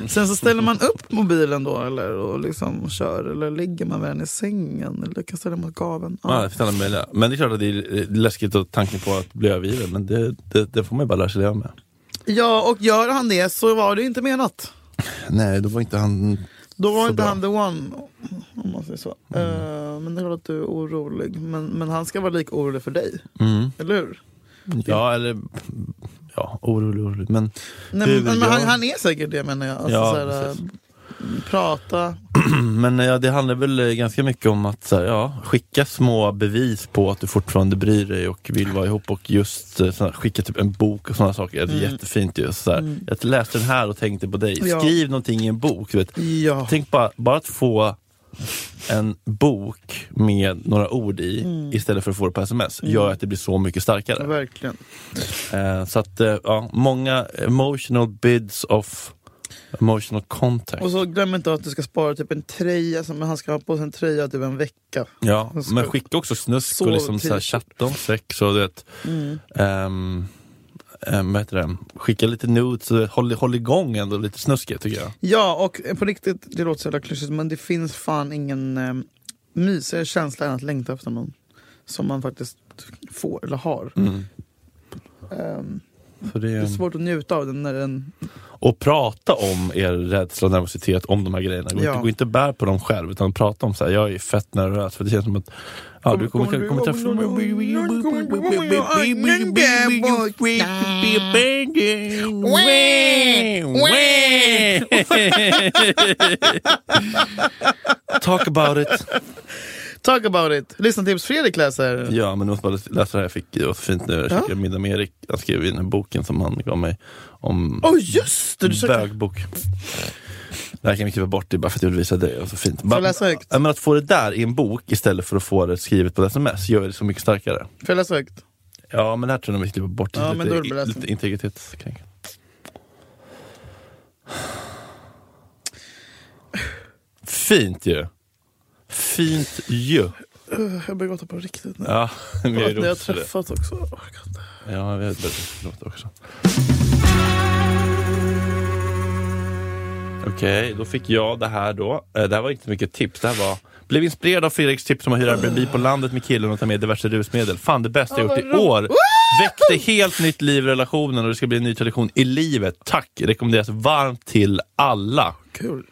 Speaker 3: Sen så ställer man upp mobilen då eller och liksom kör. Eller ligger man med den i sängen. Eller kan ställa mot gaveln. Ja.
Speaker 2: Ja, det finns alla möjliga. Men det är klart att det är eh, läskigt att tanken på att bli övergiven. Men det, det, det får man ju bara lära sig leva med.
Speaker 3: ja, och gör han det så var det inte menat.
Speaker 2: Nej, då var inte han...
Speaker 3: Då var
Speaker 2: Så
Speaker 3: inte
Speaker 2: bra. Mm.
Speaker 3: han the one, om man säger så. Eh, men det är klart att du är orolig. Men, men han ska vara lika orolig för dig,
Speaker 2: Mm.
Speaker 3: eller hur?
Speaker 2: Ja, eller... Ja, orolig, orolig. Men
Speaker 3: Nej,
Speaker 2: Hur
Speaker 3: men, men
Speaker 2: jag-
Speaker 3: han, han är säkert det menar jag. Alltså,
Speaker 2: Ja,
Speaker 3: så här, eh,
Speaker 2: precis.
Speaker 3: prata.
Speaker 2: Men eh, ja, det handlar väl eh, ganska mycket om att så här, ja, skicka små bevis på att du fortfarande bryr dig och vill vara ihop och just eh, så här, skicka typ en bok och sådana saker. Det är jättefint ju. Så här, Jag läste den här och tänkte på dig.
Speaker 3: Mm. Ja.
Speaker 2: Skriv någonting i en bok. Du vet.
Speaker 3: Ja.
Speaker 2: Tänk bara, bara att få en bok med några ord i
Speaker 3: Mm.
Speaker 2: istället för att få det på sms gör att det blir så mycket starkare.
Speaker 3: Verkligen.
Speaker 2: Eh, så att eh, ja, många emotional bids of emotional contact.
Speaker 3: Och så glöm inte att du ska spara typ en tröja, som han ska ha på sig en tröja typ en vecka.
Speaker 2: Ja,
Speaker 3: Och så-
Speaker 2: men skicka också snusk
Speaker 3: så Mm.
Speaker 2: och liksom så här
Speaker 3: tidigt.
Speaker 2: chatta om sex och du vet, ehm, ehm, vad heter det? Skicka lite nudes och håll, håll igång ändå lite snuskigt tycker jag.
Speaker 3: Ja, och eh, på riktigt, det låter så jävla klyschigt men det finns fan ingen eh, mysigare känsla än att längta efter någon. Som man faktiskt får eller har.
Speaker 2: Mm.
Speaker 3: Ehm,
Speaker 2: Så det,
Speaker 3: Det är svårt att njuta av den när den...
Speaker 2: och prata om er rädsla och nervositet om de här grejerna. Gå,
Speaker 3: Ja.
Speaker 2: inte, gå inte och bär på dem själv utan prata om så här, jag är fett nervös för det känns som att ja, du kommer, kommer, kommer träffa Talk about it.
Speaker 3: Talk about it! Lyssna tips Fredrik läser.
Speaker 2: Ja, men jag måste bara läsa det här jag fick. Det var så fint nu. Jag käkade middag med Erik. Han skrev i den här boken som han gav mig om
Speaker 3: Åh just det! Du söker...
Speaker 2: bögbok. Det här kan vi klippa bort, det är bara för att jag vill visa dig. Det var så fint.
Speaker 3: jag läsa högt?
Speaker 2: Ja, men att få det där i en bok istället för att få det skrivet på ett sms gör det så mycket starkare.
Speaker 3: Får jag läsa högt?
Speaker 2: Ja, men det här tror jag nog vi klipper bort.
Speaker 3: Ja,
Speaker 2: lite,
Speaker 3: men då är det bra.
Speaker 2: lite integritetskränkande. Fint ju! Fint ju!
Speaker 3: Jag börjar gråta på riktigt nu.
Speaker 2: Ja, men jag
Speaker 3: jag
Speaker 2: är
Speaker 3: har
Speaker 2: rolig för det.
Speaker 3: träffat också. Oh, God.
Speaker 2: Ja, vi har ett låt också. Okej, då fick jag det här då. Eh, Det här var inte så mycket tips. Det här var Blev inspirerad av Fredriks tips om att hyra Airbnb på landet med killen och ta med diverse rusmedel. Fan det bästa jag gjort i år. Väckte helt nytt liv i relationen och det ska bli en ny tradition i livet. Tack! Rekommenderas varmt till alla.
Speaker 3: Kul.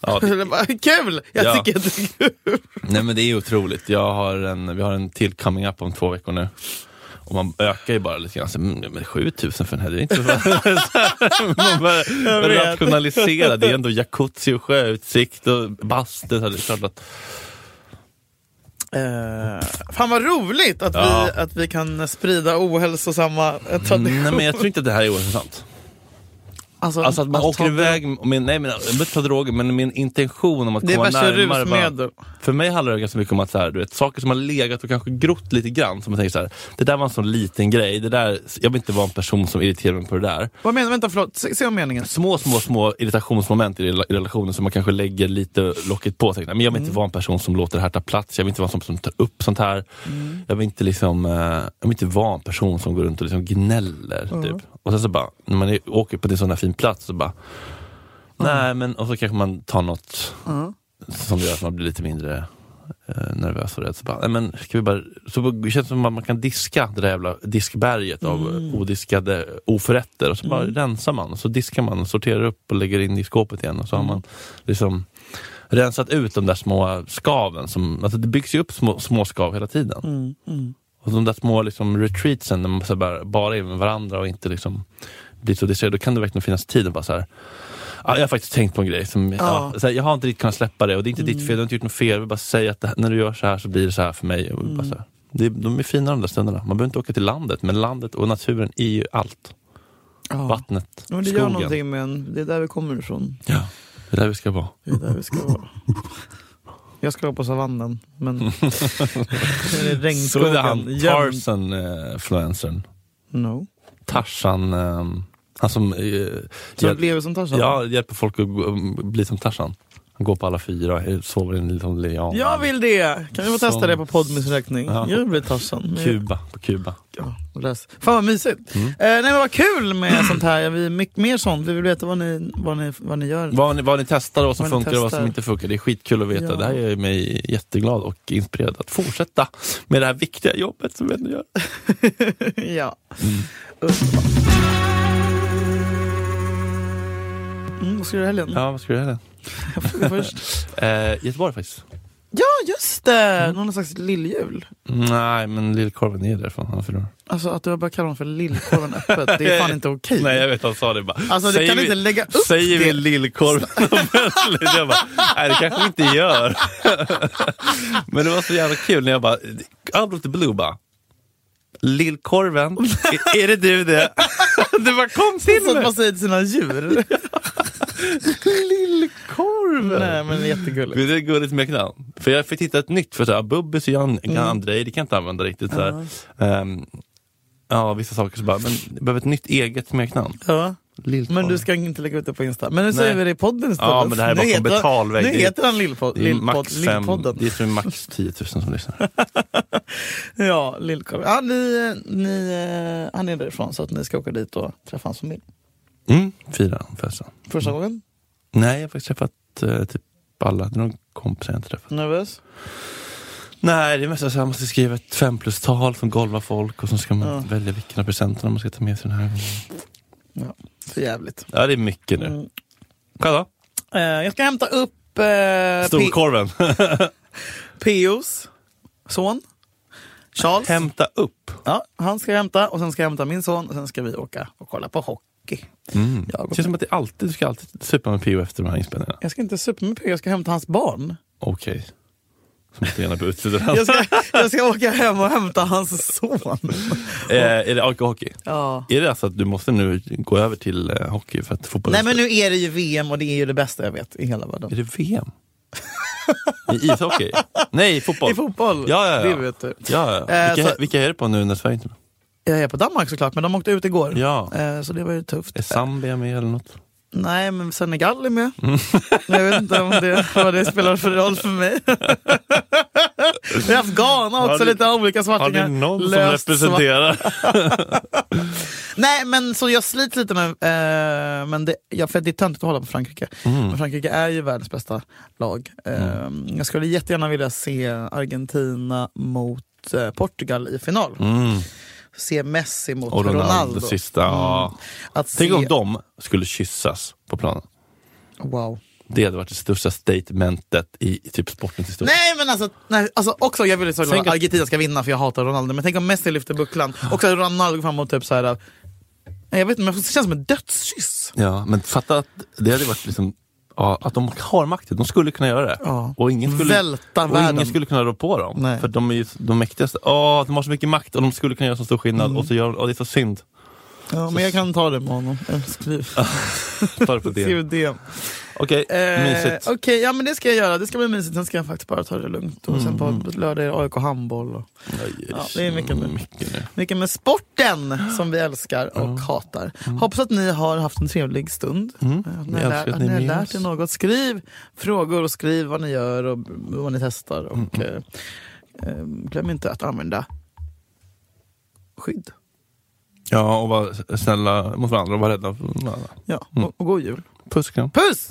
Speaker 2: Ja, det,
Speaker 3: Eller bara, Kul! Jag
Speaker 2: Ja.
Speaker 3: tycker att det är kul.
Speaker 2: nej men det är otroligt. Jag har en, vi har en till coming up om två veckor nu. Och man ökar ju bara lite grann. Så, mm, men 7000 för den här, det är inte så Man börjar rationalisera. Det är ändå jacuzzi och sjöutsikt och bastu. Så här, det är klart att
Speaker 3: Eh, fan vad roligt att,
Speaker 2: Ja.
Speaker 3: vi, att vi kan sprida ohälsosamma eh, traditioner.
Speaker 2: Nej men jag tror inte att det här är ohälsosamt.
Speaker 3: Alltså,
Speaker 2: Alltså att man åker
Speaker 3: ta-
Speaker 2: iväg, med, nej men jag vill ta droger, men min intention om att
Speaker 3: Det är
Speaker 2: komma
Speaker 3: värsta
Speaker 2: närmare. varandra-
Speaker 3: rusmedel.
Speaker 2: för mig handlar det ganska mycket om att så här, du vet, saker som har legat och kanske grott lite grann, som man tänker så här, det där var en sån liten grej, det där, jag vill inte vara en person som irriterar mig på det där.
Speaker 3: Vad menar Vänta förlåt, se, se om meningen.
Speaker 2: Små, små, små irritationsmoment i rela- i relationen som man kanske lägger lite locket på. Tänker, nej, men jag vill inte vara en person som låter det här ta plats, jag vill inte vara en person som tar upp sånt här. Jag, vill inte liksom, eh, jag vill inte vara en person som går runt och liksom gnäller. Typ. Och sen så bara, när man är, åker på en sån här fin plats så bara, nej men, och så kanske man tar något som gör att man blir lite mindre eh, nervös och rädd. Så, bara, nej, men ska vi bara, så bara- det känns som att man kan diska det där jävla diskberget av odiskade oförrätter. Och så bara rensar man, och så diskar man, och sorterar upp och lägger in i skåpet igen. Och så har man liksom rensat ut de där små skaven. Som, alltså det byggs ju upp små, små skav hela tiden.
Speaker 3: Mm,
Speaker 2: Och de där små liksom, retreatsen, när man så här bara, bara är med varandra och inte liksom blir så distraherad, då kan det verkligen finnas tid att bara så här, "Ja, jag har faktiskt tänkt på en grej, som, ja. så här, jag har inte riktigt kunnat släppa det och det är inte ditt
Speaker 3: Mm.
Speaker 2: fel, du har inte gjort något fel, jag vill bara säga att det, här- när du gör så här så blir det så här för mig. Och
Speaker 3: Mm.
Speaker 2: bara så här. Det, de är fina de där stunderna, man behöver inte åka till landet, men landet och naturen är ju allt.
Speaker 3: Ja.
Speaker 2: Vattnet,
Speaker 3: Men det gör
Speaker 2: skogen.
Speaker 3: någonting med en, det är där vi kommer ifrån.
Speaker 2: Ja, det är där vi ska vara.
Speaker 3: Det är där vi ska vara. Jag ska vara på savannen, men... det är
Speaker 2: Så är det han,
Speaker 3: regnskogen. gömd.
Speaker 2: Tarzan-influencern.
Speaker 3: No.
Speaker 2: Tarzan, eh, han som, eh,
Speaker 3: Så
Speaker 2: hjäl-
Speaker 3: jag lever som Tarzan?
Speaker 2: ja, hjälper folk att gå- um, bli som Tarzan. Han går på alla fyra, eh, sover i en liten lean.
Speaker 3: Jag vill det! Kan vi få testa
Speaker 2: Som-
Speaker 3: det på poddmis räkning?
Speaker 2: Ja.
Speaker 3: Jag vill bli Tarzan. Men-
Speaker 2: Kuba, på Kuba.
Speaker 3: Ja, och läs. Fan vad mysigt!
Speaker 2: Mm.
Speaker 3: Eh, nej men vad kul med sånt här. Vi mycket mer sånt. Vi vill veta vad ni, vad ni, vad ni gör.
Speaker 2: Vad ni, vad ni testar, vad som
Speaker 3: Vad ni
Speaker 2: funkar och vad som
Speaker 3: testar.
Speaker 2: inte funkar. Det är skitkul att veta.
Speaker 3: Ja.
Speaker 2: Det här gör mig jätteglad och inspirerad att fortsätta med det här viktiga jobbet som vi ändå gör.
Speaker 3: ja. Underbart. Mm, vad ska du göra i helgen?
Speaker 2: Ja, vad ska du göra?
Speaker 3: Jag frågar först.
Speaker 2: Eh, Göteborg faktiskt.
Speaker 3: Ja just det! Någon slags lilljul.
Speaker 2: Nej, men Lillkorven är därifrån. Han fyller år.
Speaker 3: Alltså att du har börjat kalla dem för lillkorven öppet, det är fan inte okej.
Speaker 2: Nej, jag vet. Han sa det bara.
Speaker 3: Alltså du
Speaker 2: Säger
Speaker 3: kan
Speaker 2: vi-
Speaker 3: inte lägga upp
Speaker 2: Säger vi
Speaker 3: det.
Speaker 2: lillkorven offentligt? Jag bara, nej det kanske vi inte gör. Men det var så jävla kul när jag bara, out of the blue bara, lillkorven, är, är det du det? Det var kom till
Speaker 3: Så att
Speaker 2: mig.
Speaker 3: man säger till sina djur.
Speaker 2: Lillkorven.
Speaker 3: Nej men det är jättegulligt.
Speaker 2: Det är ett gulligt smeknamn. För jag fick hitta ett nytt, för så här, Bubbis och Jan, mm. Andrej, det kan jag inte använda riktigt. Så här. Ehm, ja, vissa saker så bara, men jag behöver ett nytt eget smeknamn.
Speaker 3: Ja.
Speaker 2: Lillkorven.
Speaker 3: Men du ska inte lägga ut det på Insta. Men nu säger
Speaker 2: Nej.
Speaker 3: vi det i podden istället.
Speaker 2: Ja, men det här är
Speaker 3: Nu
Speaker 2: bakom
Speaker 3: heter-
Speaker 2: betalvägg.
Speaker 3: Nu
Speaker 2: Det är-
Speaker 3: heter han Lillpod,
Speaker 2: det är
Speaker 3: Lillpod,
Speaker 2: max fem,
Speaker 3: Lillpodden.
Speaker 2: det är tror jag max 10 000 som lyssnar.
Speaker 3: Ja, Lillkorven. Ja, ni, ni, eh, han är därifrån så att ni ska åka dit och träffa hans familj.
Speaker 2: Mm, fyra födelsedagar.
Speaker 3: Första gången?
Speaker 2: Nej, jag har faktiskt träffat eh, typ alla. Det är någon kompis jag inte träffat.
Speaker 3: Nervös?
Speaker 2: Nej, det är mest så här, man måste skriva ett fem plus-tal som golvar folk och så ska man
Speaker 3: Ja.
Speaker 2: välja vilken av presenterna man ska ta med sig den här gången.
Speaker 3: För jävligt.
Speaker 2: Ja, det är mycket nu.
Speaker 3: Mm.
Speaker 2: Själv då?
Speaker 3: Eh, jag ska hämta upp eh, P-
Speaker 2: Storkorven.
Speaker 3: P.O.s son. Charles.
Speaker 2: Hämta upp.
Speaker 3: Ja, han ska jag hämta och sen ska jag hämta min son och sen ska vi åka och kolla på hockey. Jag,
Speaker 2: Det Mm. känns som att det är alltid, du ska alltid supa med P.O. efter de här inspelningarna.
Speaker 3: jag ska inte supa med P.O. jag ska hämta hans barn.
Speaker 2: Okej. Så måste jag gärna på utsidan.
Speaker 3: Jag ska, jag ska åka hem och hämta hans son.
Speaker 2: eh, är det AK-hockey?
Speaker 3: Ja.
Speaker 2: Är det alltså att du måste nu gå över till eh, hockey för att fotboll
Speaker 3: Nej men nu är det ju VM och det är ju det bästa jag vet i hela världen.
Speaker 2: Är det VM? I ishockey? Nej, i fotboll.
Speaker 3: I fotboll,
Speaker 2: Ja, ja, ja.
Speaker 3: det vet du.
Speaker 2: Ja,
Speaker 3: Eh,
Speaker 2: ja. Vilka,
Speaker 3: så-
Speaker 2: vilka är det på nu när Sverige inte är med?
Speaker 3: Jag är på Danmark såklart, men de åkte ut igår.
Speaker 2: Ja.
Speaker 3: Eh, Så det var ju tufft.
Speaker 2: Är Zambia med eller något?
Speaker 3: Nej, men Senegal är med.
Speaker 2: Mm.
Speaker 3: Jag vet inte om det, vad det spelar för roll för mig. Vi har haft Ghana också,
Speaker 2: Har du-
Speaker 3: lite olika
Speaker 2: Har
Speaker 3: svartingar.
Speaker 2: ni någon som
Speaker 3: Löst svart-
Speaker 2: representerar?
Speaker 3: Nej, men så jag slits lite med... Eh, men det, ja, för det är töntigt att hålla på Frankrike.
Speaker 2: Mm.
Speaker 3: Men Frankrike är ju världens bästa lag. Eh, Jag skulle jättegärna vilja se Argentina mot eh, Portugal i final.
Speaker 2: Mm.
Speaker 3: Se Messi mot
Speaker 2: Och Ronaldo,
Speaker 3: Ronaldo. Mm.
Speaker 2: sista. Ja.
Speaker 3: Att
Speaker 2: Tänk
Speaker 3: se,
Speaker 2: om de skulle kyssas på planen.
Speaker 3: Wow.
Speaker 2: Det hade varit det största statementet i, i typ sportens historia.
Speaker 3: Nej men alltså, nej, alltså också jag vill såklart
Speaker 2: Tänk
Speaker 3: att
Speaker 2: att-
Speaker 3: Argentina ska vinna för jag hatar Ronaldo. Men tänk om Messi lyfter bucklan. Också att Ronaldo går fram och typ så här. Nej, jag vet inte, men det känns som en dödskyss.
Speaker 2: Ja, men fatta att det hade varit liksom Ja, att de har makten, de skulle kunna göra det.
Speaker 3: Ja.
Speaker 2: Och ingen skulle,
Speaker 3: Välta
Speaker 2: och
Speaker 3: världen.
Speaker 2: ingen skulle kunna rå på dem.
Speaker 3: Nej.
Speaker 2: För de är ju de mäktigaste. Åh, de har så mycket makt och de skulle kunna göra så stor skillnad.
Speaker 3: Mm.
Speaker 2: Och så gör de, åh, det är så synd.
Speaker 3: Ja, men jag kan ta det med honom. Jag Skriv,
Speaker 2: Ta det på det.
Speaker 3: skriv
Speaker 2: Okej,
Speaker 3: det. Eh, Okej, Eh,
Speaker 2: mysigt.
Speaker 3: ja men det ska jag göra. Det ska bli mysigt. Sen ska jag faktiskt bara ta det lugnt. Och sen på lördag är det AIK handboll. Och ja, det är mycket nu.
Speaker 2: mycket nu.
Speaker 3: mycket med sporten som vi älskar och hatar. Hoppas att ni har haft en trevlig stund. Mm. Att ni,
Speaker 2: Vi
Speaker 3: har,
Speaker 2: älskar
Speaker 3: lärt,
Speaker 2: att
Speaker 3: att
Speaker 2: ni
Speaker 3: ni
Speaker 2: är
Speaker 3: har
Speaker 2: med
Speaker 3: lärt
Speaker 2: oss.
Speaker 3: er något. Skriv frågor och skriv vad ni gör och vad ni testar. Och, eh, eh, glöm inte att använda skydd.
Speaker 2: Ja, och vara snälla mot varandra och vara rädda för varandra. Mm.
Speaker 3: Ja, och, och god jul.
Speaker 2: Puss kram.
Speaker 3: Puss!